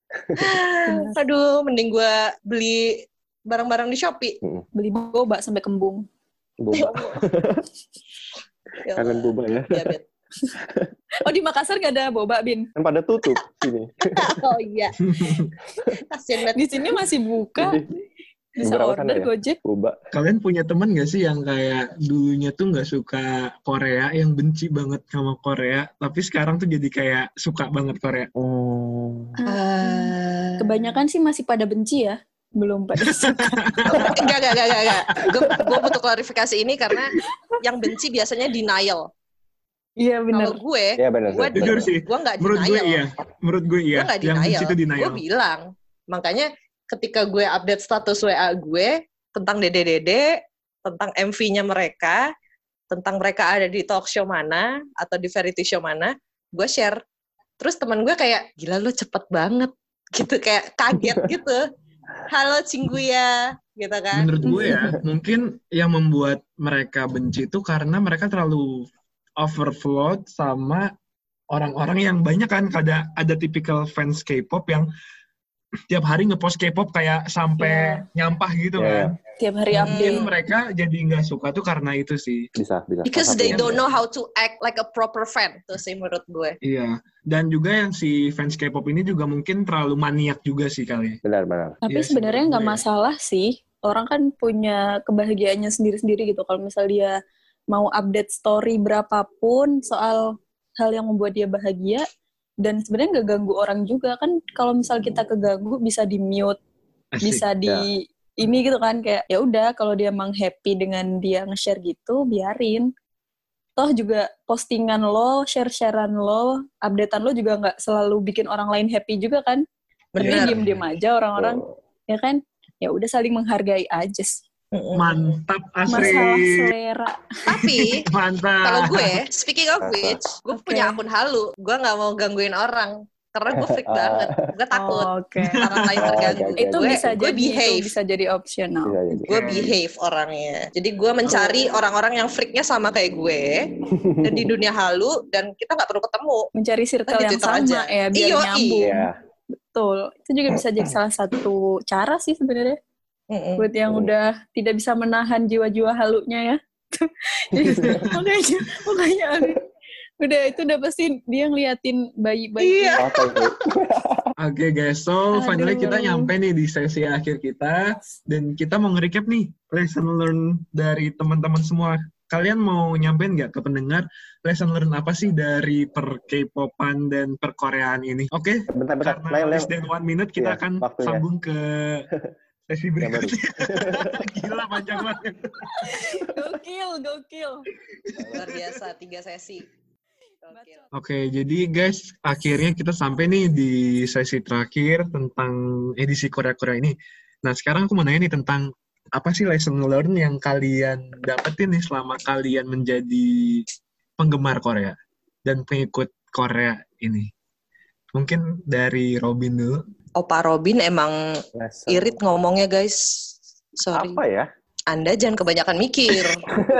Speaker 4: [laughs] Aduh, mending gue beli barang-barang di Shopee.
Speaker 5: Beli boba sampai kembung.
Speaker 6: Boba.
Speaker 4: Ya Allah,
Speaker 6: Kangen boba ya.
Speaker 4: diabetes.
Speaker 5: Oh di Makassar gak ada boba bin?
Speaker 6: Kan pada tutup sini.
Speaker 4: Oh iya. Kasian banget.
Speaker 5: Di sini masih buka,
Speaker 6: Jadi
Speaker 5: bisa
Speaker 6: Beberapa sana
Speaker 5: order
Speaker 6: ya?
Speaker 5: Gojek.
Speaker 6: boba.
Speaker 2: [laughs] Kalian punya teman gak sih yang kayak dulunya tuh nggak suka Korea, yang benci banget sama Korea, tapi sekarang tuh jadi kayak suka banget Korea?
Speaker 6: Hmm.
Speaker 4: Ah.
Speaker 5: Kebanyakan sih masih pada benci ya, belum
Speaker 6: [laughs]
Speaker 5: pada suka.
Speaker 4: Enggak, enggak, enggak, enggak, enggak. Gue gue butuh klarifikasi ini karena yang benci biasanya denial.
Speaker 5: Iya
Speaker 4: Kalau
Speaker 5: bener.
Speaker 4: gue,
Speaker 6: Ya benar.
Speaker 4: Gua
Speaker 6: benar.
Speaker 2: Jujur sih,
Speaker 4: gue nggak
Speaker 2: menurut gue
Speaker 4: denial.
Speaker 2: iya. Menurut gue iya.
Speaker 4: Gue nggak
Speaker 2: Yang benci
Speaker 4: denial.
Speaker 2: itu denial.
Speaker 4: Gue bilang. Makanya ketika gue update status WA gue tentang DDDD, tentang MV-nya mereka, tentang mereka ada di talk show mana atau di variety show mana, gue share. Terus teman gue kayak, gila lu cepet banget. [laughs] Gitu, kayak
Speaker 2: [laughs]
Speaker 4: kaget gitu. Halo Cingguya, gitu kan.
Speaker 2: Menurut gue
Speaker 5: [laughs]
Speaker 2: ya, mungkin yang membuat mereka benci itu karena mereka terlalu overflow sama orang-orang yang banyak kan ada ada tipikal fans K-pop yang tiap hari ngepost K-pop kayak sampai nyampah gitu kan.
Speaker 6: Iya.
Speaker 5: Tiap hari
Speaker 4: Hmm.
Speaker 2: Mungkin
Speaker 5: update.
Speaker 2: mereka jadi nggak suka tuh karena itu sih.
Speaker 6: Bisa, bisa.
Speaker 4: Because
Speaker 6: Salah
Speaker 4: they
Speaker 6: satunya.
Speaker 4: don't know how to act like a proper fan, tuh sih menurut gue.
Speaker 2: Iya. Dan juga yang si fans K-pop ini juga mungkin terlalu maniak juga sih kali.
Speaker 6: Benar, benar.
Speaker 5: Tapi
Speaker 2: Iya sih,
Speaker 5: sebenarnya
Speaker 2: menurut
Speaker 5: nggak
Speaker 2: gue ya.
Speaker 5: masalah sih. Orang kan punya kebahagiaannya sendiri-sendiri gitu. Kalau misal dia mau update story berapapun soal hal yang membuat dia bahagia dan sebenarnya nggak ganggu orang juga kan. Kalau misal
Speaker 2: Hmm.
Speaker 5: kita keganggu bisa di mute,
Speaker 2: Asik.
Speaker 5: bisa di ini gitu kan kayak ya udah kalau dia emang happy dengan dia nge-share gitu biarin. Toh juga postingan lo, share-sharean lo, updatean lo juga nggak selalu bikin orang lain happy juga kan.
Speaker 2: Benar.
Speaker 5: Mending diem-diem aja orang-orang ya kan ya udah saling menghargai aja sih
Speaker 2: Mantap
Speaker 5: masalah
Speaker 2: Asri.
Speaker 5: selera
Speaker 2: [laughs]
Speaker 4: Tapi
Speaker 2: Mantap.
Speaker 4: kalau gue, speaking of which, gue
Speaker 5: Ah. Oke.
Speaker 4: punya akun halu. Gue nggak mau gangguin orang. karena gue freak banget gue takut [laughs]
Speaker 5: Oke.
Speaker 4: orang lain
Speaker 6: Oh,
Speaker 4: terganggu
Speaker 6: oke, oke.
Speaker 5: Itu
Speaker 4: Gue-
Speaker 5: bisa
Speaker 4: gue
Speaker 5: jadi
Speaker 4: behave.
Speaker 5: itu bisa jadi opsional.
Speaker 6: Iya, iya.
Speaker 4: gue behave orangnya jadi gue mencari orang-orang yang freaknya sama kayak gue dan di dunia halu dan kita nggak perlu ketemu
Speaker 5: Mencari circle
Speaker 4: Di
Speaker 5: yang
Speaker 4: Twitter
Speaker 5: sama
Speaker 4: aja.
Speaker 5: ya
Speaker 4: Iyo,
Speaker 5: biar
Speaker 4: i.
Speaker 5: nyambung.
Speaker 6: Iya.
Speaker 5: Betul. Itu juga bisa jadi salah satu cara sih sebenarnya
Speaker 4: Mm-mm.
Speaker 5: buat yang
Speaker 6: Hmm.
Speaker 5: udah tidak bisa menahan jiwa-jiwa halunya
Speaker 6: [laughs]
Speaker 5: ya. Jadi, makanya makanya Aldi, udah itu udah pasti dia ngeliatin bayi-bayi
Speaker 4: Iya.
Speaker 6: Apa itu?
Speaker 2: Oke guys, so finally
Speaker 5: Aduh.
Speaker 2: kita nyampe nih di sesi akhir kita dan kita mau nge-recap nih lesson learn dari teman-teman semua. Kalian mau nyampein nggak ke pendengar lesson learn apa sih dari per K-popan dan per Koreaan ini? Oke,
Speaker 6: Bentar, bentar.
Speaker 2: karena
Speaker 6: Lain, lain.
Speaker 2: less than one minute kita
Speaker 6: Iya,
Speaker 2: akan
Speaker 6: waktunya.
Speaker 2: sambung
Speaker 6: [laughs]
Speaker 2: ke sesi
Speaker 6: Yang baru.
Speaker 2: berikutnya. [laughs] Gila panjang banget.
Speaker 5: gokil gokil
Speaker 4: luar biasa tiga sesi Oke.
Speaker 2: Oke, jadi guys, akhirnya kita sampai nih di sesi terakhir tentang edisi Korea-Korea ini. Nah, sekarang aku mau nanya nih tentang apa sih lesson learn yang kalian dapetin nih selama kalian menjadi penggemar Korea dan pengikut Korea ini. Mungkin dari Robin dulu.
Speaker 4: Opa Robin emang
Speaker 6: Lesson.
Speaker 4: irit ngomongnya guys sorry
Speaker 6: Apa ya?
Speaker 4: anda jangan kebanyakan mikir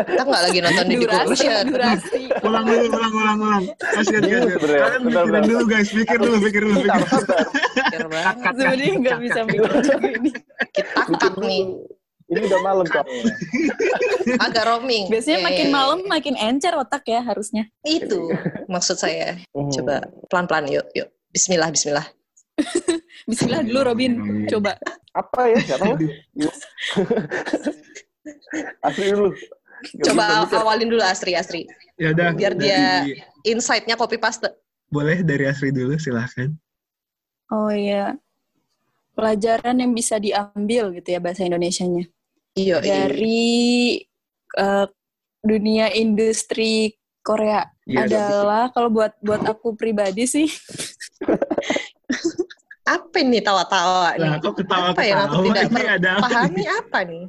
Speaker 4: kita nggak lagi nonton di
Speaker 5: durasi
Speaker 4: Decoration
Speaker 5: durasi
Speaker 2: Ulang dulu, ulang, ulang, ulang. Kasian,
Speaker 6: Iya,
Speaker 2: kasian.
Speaker 6: sebenarnya.
Speaker 2: Kalian
Speaker 6: Bentar,
Speaker 2: mikirin
Speaker 6: bentar.
Speaker 2: dulu guys, pikir dulu, pikir dulu, pikir.
Speaker 6: Bentar, bentar.
Speaker 4: Mikir banget.
Speaker 2: Cut, cut, cut,
Speaker 5: sebenarnya nggak
Speaker 2: cut,
Speaker 5: bisa
Speaker 2: cut.
Speaker 5: mikir juga ini
Speaker 4: kita cut nih
Speaker 6: Ini udah malam kok.
Speaker 4: agak roaming
Speaker 5: biasanya
Speaker 4: Eh,
Speaker 5: makin malam makin encer otak ya harusnya
Speaker 4: itu maksud saya
Speaker 6: Hmm.
Speaker 4: coba pelan-pelan yuk yuk Bismillah, Bismillah.
Speaker 5: Bismillah dulu Robin coba
Speaker 6: Apa ya?
Speaker 2: [laughs]
Speaker 6: Gak tahu. Asli dulu. Nggak bisa
Speaker 4: Coba
Speaker 6: mikir.
Speaker 4: awalin dulu Asri, Asri.
Speaker 2: Ya udah.
Speaker 4: Biar dia-
Speaker 2: dari-
Speaker 4: Insight-nya copy paste.
Speaker 2: boleh dari Asri dulu, silahkan.
Speaker 5: oh iya pelajaran yang bisa diambil gitu ya bahasa Indonesianya
Speaker 4: Iya, iya.
Speaker 5: dari eh, dunia industri Korea
Speaker 2: Iya,
Speaker 5: adalah kalau buat buat aku pribadi sih
Speaker 4: Apa ini tawa-tawa nih?
Speaker 2: Lah, Nah, kok
Speaker 4: Iya.
Speaker 2: ketawa-ketawa?
Speaker 4: apa yang aku tidak
Speaker 2: [laughs] Ini ada apa
Speaker 4: pahami
Speaker 2: nih?
Speaker 4: apa
Speaker 5: [laughs]
Speaker 4: nih?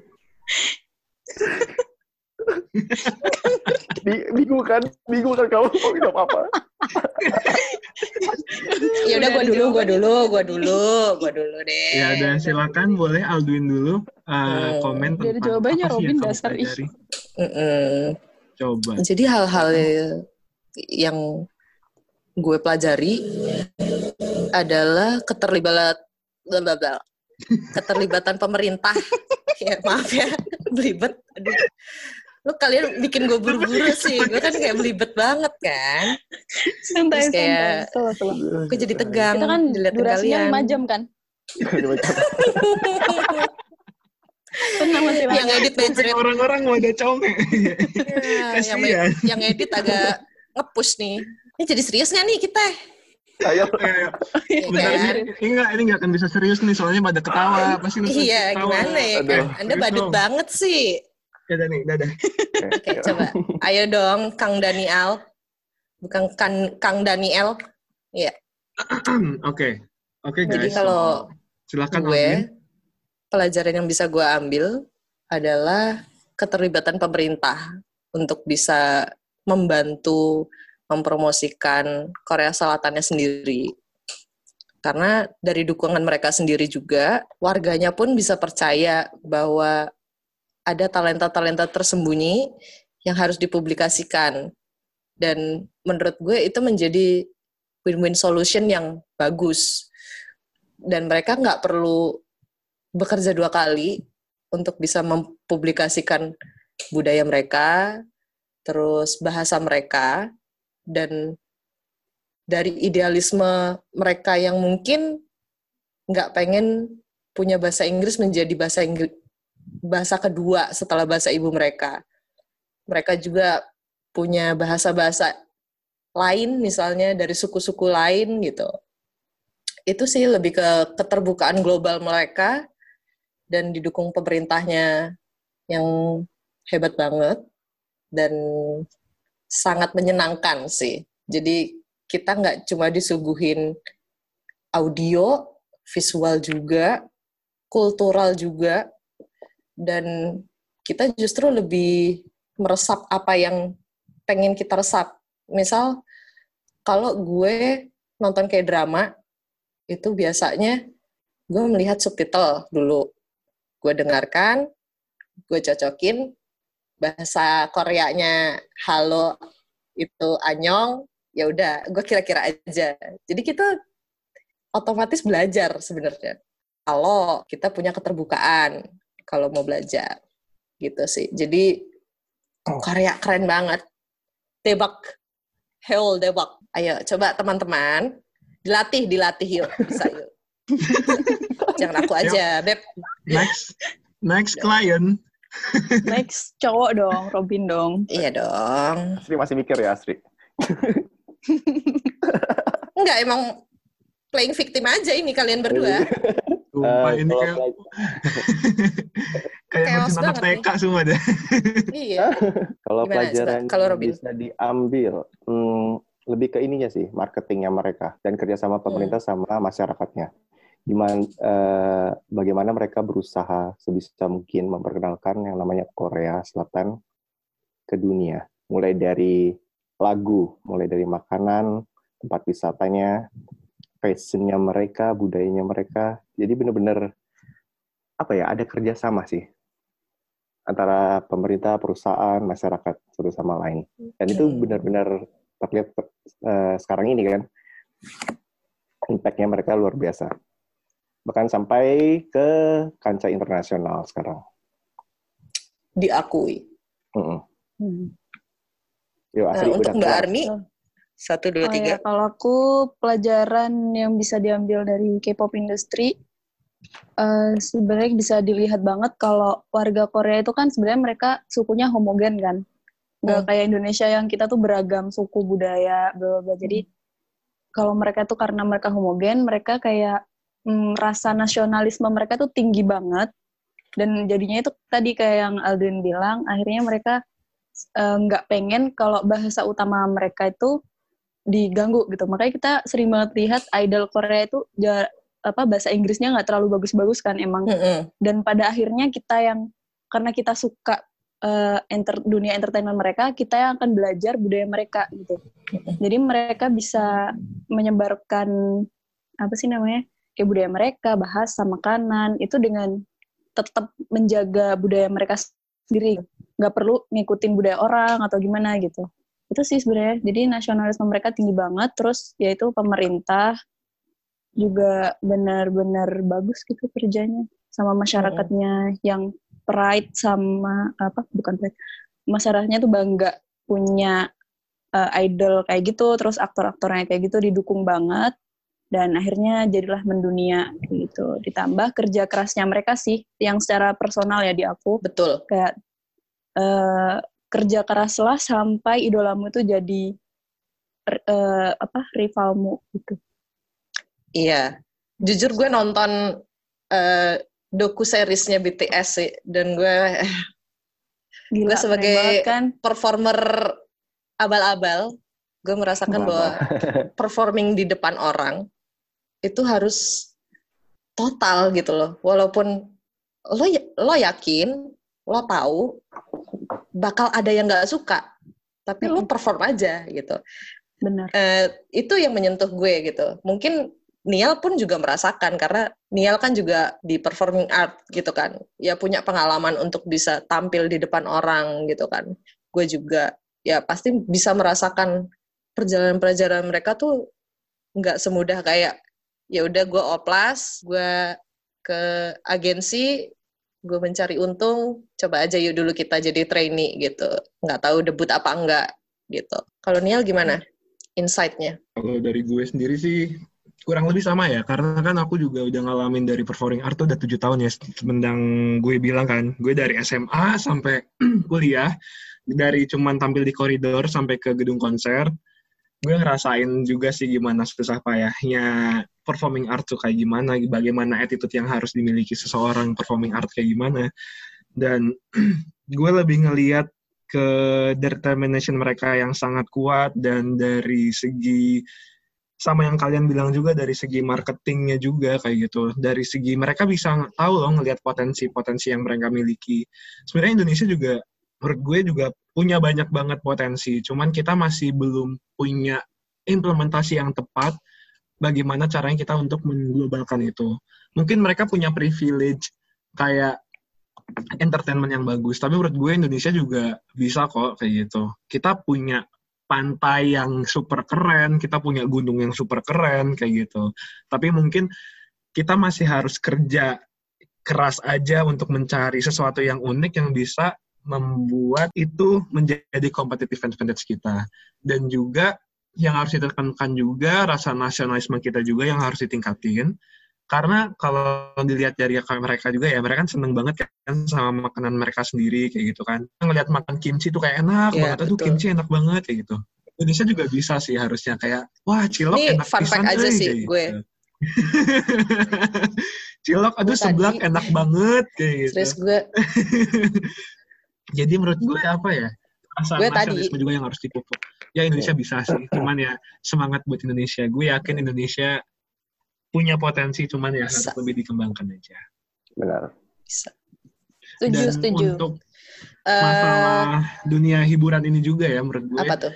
Speaker 6: Bi- Bingung kan? Bingung kan kamu? Oh, tidak apa-apa.
Speaker 4: Ya udah gua
Speaker 5: Udah
Speaker 4: dulu, gua
Speaker 5: dijawab.
Speaker 4: dulu, gua dulu, gua dulu deh.
Speaker 2: Ya udah silakan boleh Alduin dulu uh,
Speaker 4: Oh.
Speaker 2: komen
Speaker 5: Dari
Speaker 2: tentang
Speaker 5: jawabannya,
Speaker 2: apa sih
Speaker 5: Robin
Speaker 2: yang kamu
Speaker 5: dasar, ih.
Speaker 2: pelajari.
Speaker 4: Mm-mm.
Speaker 2: Coba.
Speaker 4: Jadi hal-hal yang gue pelajari adalah keterlibatan bla bla bla. keterlibatan pemerintah. ya, maaf ya, belibet. Aduh. Lu kalian bikin gue buru-buru sih. Gue kan kayak belibet banget kan.
Speaker 5: [laughs]
Speaker 4: Terus
Speaker 5: santai
Speaker 4: kayak-
Speaker 5: santai Slow, slow.
Speaker 4: Gue jadi tegang.
Speaker 5: kita kan
Speaker 4: diliatin
Speaker 5: durasinya
Speaker 4: kalian.
Speaker 5: 5 jam kan [laughs] tenang masih
Speaker 4: [laughs] yang edit
Speaker 2: Kuping
Speaker 4: budget
Speaker 2: orang-orang mau ada
Speaker 4: [laughs]
Speaker 2: comel.
Speaker 4: yang,
Speaker 2: Kasihan.
Speaker 4: yang edit agak ngepush nih ini jadi serius nggak nih kita
Speaker 6: Ayo.
Speaker 2: Kayak,
Speaker 4: Ya
Speaker 5: iya.
Speaker 2: Bentar,
Speaker 4: kan?
Speaker 2: ini, Iya, ini enggak, ini enggak akan bisa serius nih soalnya pada ketawa. Pasti lu
Speaker 4: iya gimana ya kan
Speaker 6: Aduh.
Speaker 4: anda badut
Speaker 2: Serius dong.
Speaker 4: banget sih
Speaker 2: Ya udah nih, dadah.
Speaker 4: oke Eh, coba ayo dong Kang Daniel bukan kan Kang Daniel
Speaker 2: Hmm, Oke. Oke guys.
Speaker 4: jadi kalau
Speaker 2: silakan Alduin.
Speaker 4: gue pelajaran yang bisa gue ambil adalah keterlibatan pemerintah untuk bisa membantu mempromosikan Korea Selatannya sendiri. Karena dari dukungan mereka sendiri juga, warganya pun bisa percaya bahwa ada talenta-talenta tersembunyi yang harus dipublikasikan. Dan menurut gue itu menjadi win-win solution yang bagus dan mereka nggak perlu bekerja dua kali untuk bisa mempublikasikan budaya mereka, terus bahasa mereka, dan dari idealisme mereka yang mungkin nggak pengen punya bahasa Inggris menjadi bahasa Inggris bahasa kedua setelah bahasa ibu mereka. Mereka juga punya bahasa-bahasa lain misalnya dari suku-suku lain gitu itu sih lebih ke eh, keterbukaan global mereka dan didukung pemerintahnya yang hebat banget dan sangat menyenangkan sih. Jadi kita nggak cuma disuguhin audio, visual juga, kultural juga, dan kita justru lebih meresap apa yang pengen kita resap. Misal kalau gue nonton kayak drama, itu biasanya gue melihat subtitle dulu. Gue dengarkan, gue cocokin bahasa Koreanya halo itu anyong, ya udah gue kira-kira aja. Jadi kita otomatis belajar sebenarnya. Kalau kita punya keterbukaan kalau mau belajar gitu sih. Jadi Korea keren banget. Debak. Hell debak. Ayo coba teman-teman dilatih dilatih yuk bisa yuk. Jangan aku aja, Beb.
Speaker 2: Next, next client.
Speaker 5: Next cowok dong, Robin dong.
Speaker 4: Iya dong.
Speaker 6: Asri masih mikir ya, Asri.
Speaker 4: Enggak emang playing victim aja ini kalian berdua.
Speaker 2: Sumpah
Speaker 6: Eh,
Speaker 2: ini
Speaker 6: kalau
Speaker 2: kayak
Speaker 6: pelajar-
Speaker 2: [laughs] kayak
Speaker 4: Chaos
Speaker 2: ngurusin anak
Speaker 4: banget
Speaker 2: TK semua deh.
Speaker 4: iya.
Speaker 6: Kalau
Speaker 4: Gimana,
Speaker 6: pelajaran
Speaker 4: Zak? Kalau
Speaker 6: yang
Speaker 4: Robin?
Speaker 6: bisa diambil, hmm, lebih ke ininya sih, marketingnya mereka dan
Speaker 4: Hmm.
Speaker 6: kerjasama pemerintah sama masyarakatnya. Gimana, eh, bagaimana mereka berusaha sebisa mungkin memperkenalkan yang namanya Korea Selatan ke dunia, mulai dari lagu, mulai dari makanan, tempat wisatanya, fashionnya mereka, budayanya mereka. Jadi benar-benar apa ya? Ada kerjasama sih antara pemerintah, perusahaan, masyarakat satu sama lain. Dan itu
Speaker 4: Hmm.
Speaker 6: benar-benar terlihat eh, sekarang ini kan impact-nya mereka luar biasa. Bahkan sampai ke kancah internasional sekarang.
Speaker 4: Diakui.
Speaker 6: Mm-mm.
Speaker 5: Hmm.
Speaker 6: Yuk,
Speaker 4: Nah,
Speaker 6: Asri,
Speaker 4: untuk
Speaker 6: udah
Speaker 4: Mbak
Speaker 6: kelar.
Speaker 4: Armi, satu dua
Speaker 5: Oh
Speaker 4: tiga.
Speaker 5: ya, kalau aku pelajaran yang bisa diambil dari K-pop industry eh, sebenarnya bisa dilihat banget kalau warga Korea itu kan sebenarnya mereka sukunya homogen kan. Nggak
Speaker 4: Hmm.
Speaker 5: kayak Indonesia yang kita tuh beragam suku budaya bla bla, bla. Jadi
Speaker 4: Hmm.
Speaker 5: kalau mereka tuh karena mereka homogen, mereka kayak mm, rasa nasionalisme mereka tuh tinggi banget dan jadinya itu tadi kayak yang Aldrin bilang akhirnya mereka eh, nggak pengen kalau bahasa utama mereka itu diganggu gitu makanya kita sering banget lihat idol Korea itu jar- apa bahasa Inggrisnya nggak terlalu bagus-bagus kan emang
Speaker 4: Mm-mm.
Speaker 5: dan pada akhirnya kita yang karena kita suka eh, enter- dunia entertainment mereka kita yang akan belajar budaya mereka gitu jadi mereka bisa menyebarkan apa sih namanya ya budaya mereka bahasa makanan itu dengan tetap menjaga budaya mereka sendiri nggak perlu ngikutin budaya orang atau gimana gitu itu sih sebenarnya jadi nasionalisme mereka tinggi banget terus yaitu pemerintah juga benar-benar bagus gitu kerjanya sama masyarakatnya yang pride sama apa bukan pride masyarakatnya tuh bangga punya eh, idol kayak gitu terus aktor-aktornya kayak gitu didukung banget dan akhirnya jadilah mendunia kayak gitu ditambah kerja kerasnya mereka sih yang secara personal ya di aku
Speaker 4: Betul.
Speaker 5: kayak eh, kerja keraslah sampai idolamu itu jadi er, eh, apa rivalmu gitu
Speaker 4: Iya. Jujur gue nonton eh, doku seriesnya BTS sih dan gue
Speaker 5: gila keren
Speaker 4: sebagai-
Speaker 5: banget kan
Speaker 4: performer abal-abal, gue merasakan bahwa performing di depan orang itu harus total gitu loh. Walaupun lo ya, lo yakin, lo tahu bakal ada yang nggak suka, tapi lo perform aja gitu.
Speaker 5: benar
Speaker 4: Eh, itu yang menyentuh gue gitu. Mungkin Nial pun juga merasakan karena Nial kan juga di performing art gitu kan. Ya punya pengalaman untuk bisa tampil di depan orang gitu kan. Gue juga ya pasti bisa merasakan perjalanan-perjalanan mereka tuh nggak semudah kayak ya udah gue oplas, gue ke agensi, gue mencari untung, coba aja yuk dulu kita jadi trainee gitu. Nggak tahu debut apa enggak gitu. Kalau Nial gimana? insight-nya.
Speaker 2: Kalau dari gue sendiri sih kurang lebih sama ya, karena kan aku juga udah ngalamin dari performing art tuh udah tujuh tahun ya, semendang gue bilang kan, gue dari SMA sampai [clears throat] kuliah, dari cuman tampil di koridor sampai ke gedung konser, gue ngerasain juga sih gimana susah payahnya performing art tuh kayak gimana, bagaimana attitude yang harus dimiliki seseorang performing art kayak gimana, dan [clears throat] gue lebih ngeliat ke determination mereka yang sangat kuat dan dari segi sama yang kalian bilang juga dari segi marketingnya juga kayak gitu dari segi mereka bisa ng- tahu loh ngelihat potensi-potensi yang mereka miliki sebenarnya Indonesia juga menurut gue juga punya banyak banget potensi cuman kita masih belum punya implementasi yang tepat bagaimana caranya kita untuk mengglobalkan itu. Mungkin mereka punya privilege kayak entertainment yang bagus, tapi menurut gue Indonesia juga bisa kok kayak gitu. Kita punya pantai yang super keren, kita punya gunung yang super keren kayak gitu. Tapi mungkin kita masih harus kerja keras aja untuk mencari sesuatu yang unik yang bisa membuat itu menjadi competitive advantage kita. Dan juga yang harus ditekankan juga rasa nasionalisme kita juga yang harus ditingkatin. Karena kalau dilihat dari mereka juga ya, mereka kan seneng banget kan sama makanan mereka sendiri kayak gitu kan. Ngelihat makan kimchi tuh kayak enak
Speaker 4: Iya,
Speaker 2: banget, aduh
Speaker 4: betul.
Speaker 2: kimchi enak banget kayak gitu. Indonesia juga bisa sih harusnya kayak, wah cilok
Speaker 4: Ini
Speaker 2: enak
Speaker 4: fun
Speaker 2: pisan,
Speaker 4: fact aja
Speaker 2: euy,
Speaker 4: sih
Speaker 2: kayak
Speaker 4: gue.
Speaker 2: gitu. [laughs] cilok, aduh
Speaker 4: Gue
Speaker 2: seblak
Speaker 4: tadi-
Speaker 2: enak banget kayak gitu.
Speaker 4: Terus gue
Speaker 2: Jadi menurut gue apa ya? Perasaan
Speaker 4: Gue tadi-
Speaker 2: nasionalisme juga yang harus dipupuk. Ya Indonesia bisa sih, cuman ya semangat buat Indonesia. Gue yakin Indonesia punya potensi, cuman ya harus
Speaker 4: Bisa.
Speaker 2: lebih dikembangkan aja.
Speaker 6: benar.
Speaker 4: bisa. Setuju,
Speaker 2: Dan
Speaker 4: setuju.
Speaker 2: untuk
Speaker 4: Eh,
Speaker 2: masalah dunia hiburan ini juga ya menurut gue.
Speaker 4: apa tuh?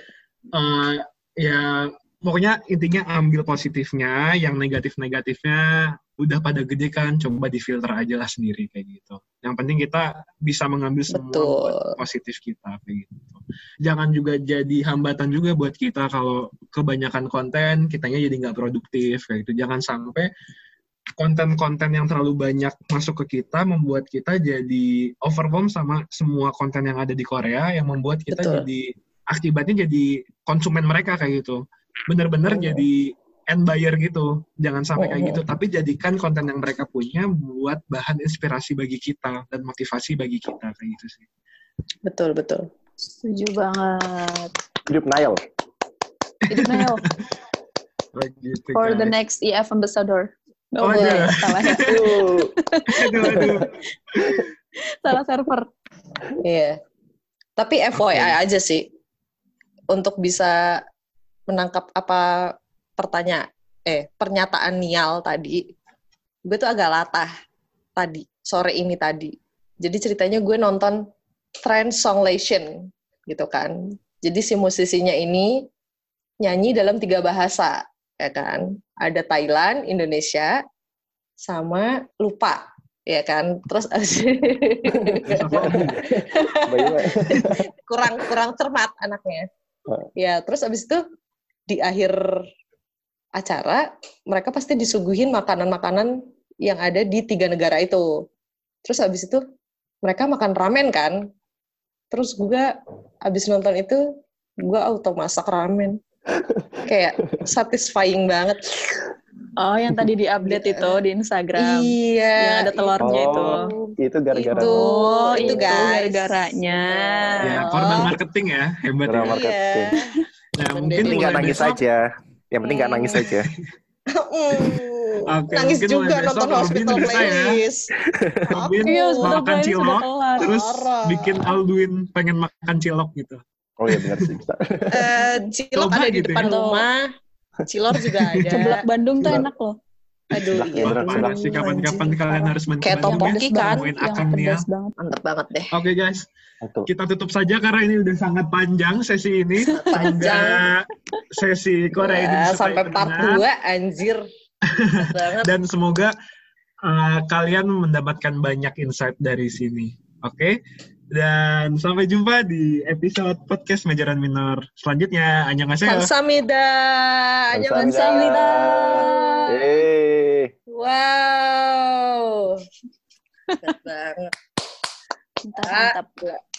Speaker 2: eh, ya pokoknya intinya ambil positifnya, yang negatif-negatifnya udah pada gede kan, coba difilter aja lah sendiri kayak gitu. Yang penting kita bisa mengambil semua
Speaker 4: Betul.
Speaker 2: buat positif kita kayak gitu. Jangan juga jadi hambatan juga buat kita kalau kebanyakan konten kitanya jadi nggak produktif kayak gitu. Jangan sampai konten-konten yang terlalu banyak masuk ke kita membuat kita jadi overwhelmed sama semua konten yang ada di Korea yang membuat kita
Speaker 4: Betul.
Speaker 2: jadi akibatnya jadi konsumen mereka kayak gitu. Bener-bener
Speaker 4: Hmm.
Speaker 2: jadi end buyer gitu. Jangan sampai kayak
Speaker 4: Hmm.
Speaker 2: gitu. Tapi jadikan konten yang mereka punya buat bahan inspirasi bagi kita dan motivasi bagi kita kayak gitu sih.
Speaker 4: Betul, betul.
Speaker 5: Setuju [laughs] banget.
Speaker 6: Hidup Nail.
Speaker 5: Hidup Neo
Speaker 2: Kayak gitu,
Speaker 5: for the
Speaker 2: guys.
Speaker 5: next EF Ambassador. Oh,
Speaker 2: Oh, iya.
Speaker 5: salah ya.
Speaker 4: Uh.
Speaker 2: Aduh, aduh.
Speaker 5: salah server.
Speaker 4: Iya. Tapi FYI aja sih untuk bisa menangkap apa pertanyaan eh pernyataan Nial tadi. Gue tuh agak latah tadi sore ini tadi. Jadi ceritanya gue nonton Trend Songlation gitu kan. Jadi si musisinya ini nyanyi dalam tiga bahasa ya kan. Ada Thailand, Indonesia, sama lupa ya kan. Terus
Speaker 2: [laughs]
Speaker 6: Bagaimana?
Speaker 4: kurang kurang cermat anaknya.
Speaker 2: Ah.
Speaker 6: Heeh.
Speaker 4: Ya, terus abis itu di akhir acara mereka pasti disuguhin makanan-makanan yang ada di tiga negara itu. Terus abis itu mereka makan ramen kan. Terus gue abis nonton itu gue auto masak
Speaker 2: [laughs]
Speaker 4: ramen. Kayak satisfying banget.
Speaker 5: Oh, yang tadi
Speaker 2: Iya.
Speaker 5: di-update itu di Instagram.
Speaker 4: Iya.
Speaker 5: Yang ada telurnya itu.
Speaker 6: Oh, itu gara-gara
Speaker 4: Itu,
Speaker 5: Oh,
Speaker 4: itu
Speaker 5: itu
Speaker 4: guys.
Speaker 5: gara-garanya.
Speaker 2: ya,
Speaker 4: Oh.
Speaker 2: korban marketing ya, hebat ya.
Speaker 6: Drama. marketing.
Speaker 4: Yang
Speaker 2: Nah, mungkin
Speaker 6: Yang penting nggak
Speaker 2: mulai
Speaker 6: nangis
Speaker 2: besok-
Speaker 6: aja. Yang penting nggak nangis
Speaker 4: [laughs]
Speaker 6: aja.
Speaker 4: Mm.
Speaker 2: Oke,
Speaker 4: Nangis
Speaker 2: mungkin mulai
Speaker 4: juga
Speaker 2: besok
Speaker 4: nonton
Speaker 2: Robin
Speaker 4: hospital
Speaker 2: bisa ya.
Speaker 4: playlist.
Speaker 2: Robin
Speaker 5: Iya,
Speaker 4: Aku.
Speaker 5: sudah
Speaker 2: Makan
Speaker 5: playlist sudah
Speaker 2: cilok,
Speaker 5: kelar.
Speaker 2: Terus
Speaker 4: Parah.
Speaker 2: bikin Alduin pengen makan cilok gitu.
Speaker 6: Oh iya benar sih. Bisa.
Speaker 4: Eh, cilok
Speaker 2: Coba
Speaker 4: ada di
Speaker 2: gitu
Speaker 4: depan
Speaker 5: ya.
Speaker 4: rumah. Cilor
Speaker 2: [laughs]
Speaker 4: juga ada.
Speaker 5: Seblak Bandung tuh
Speaker 6: Seblak.
Speaker 5: enak loh.
Speaker 4: Aduh,
Speaker 6: Seblak,
Speaker 4: iya.
Speaker 6: seblak,
Speaker 4: tuh.
Speaker 6: seblak.
Speaker 2: Parah sih, kapan-kapan
Speaker 4: Anjir.
Speaker 2: kalian harus mencoba
Speaker 4: Kayak
Speaker 5: Yang
Speaker 2: juga
Speaker 4: topoki
Speaker 5: pedas
Speaker 4: kan,
Speaker 5: banget, yang
Speaker 2: akan ya.
Speaker 5: pedas banget.
Speaker 4: Mantep banget deh.
Speaker 2: Oke guys,
Speaker 6: Betul.
Speaker 2: kita tutup saja karena ini udah sangat panjang sesi ini.
Speaker 4: [laughs] Panjang.
Speaker 2: Semoga sesi Korea ini
Speaker 4: Ya,
Speaker 2: disukai
Speaker 4: sampai part
Speaker 2: pendengar.
Speaker 4: 2, anjir. Bener
Speaker 2: [laughs]
Speaker 4: banget.
Speaker 2: Dan semoga uh, kalian mendapatkan banyak insight dari sini. Oke? Dan sampai jumpa di episode podcast Majaran Minor selanjutnya.
Speaker 4: Kan
Speaker 2: Annyeonghaseyo.
Speaker 4: Kamsamida.
Speaker 6: Kan
Speaker 4: Annyeonghaseyo.
Speaker 6: Eh.
Speaker 4: Wow. Bener banget.
Speaker 2: Ah.
Speaker 5: Mantap, mantap.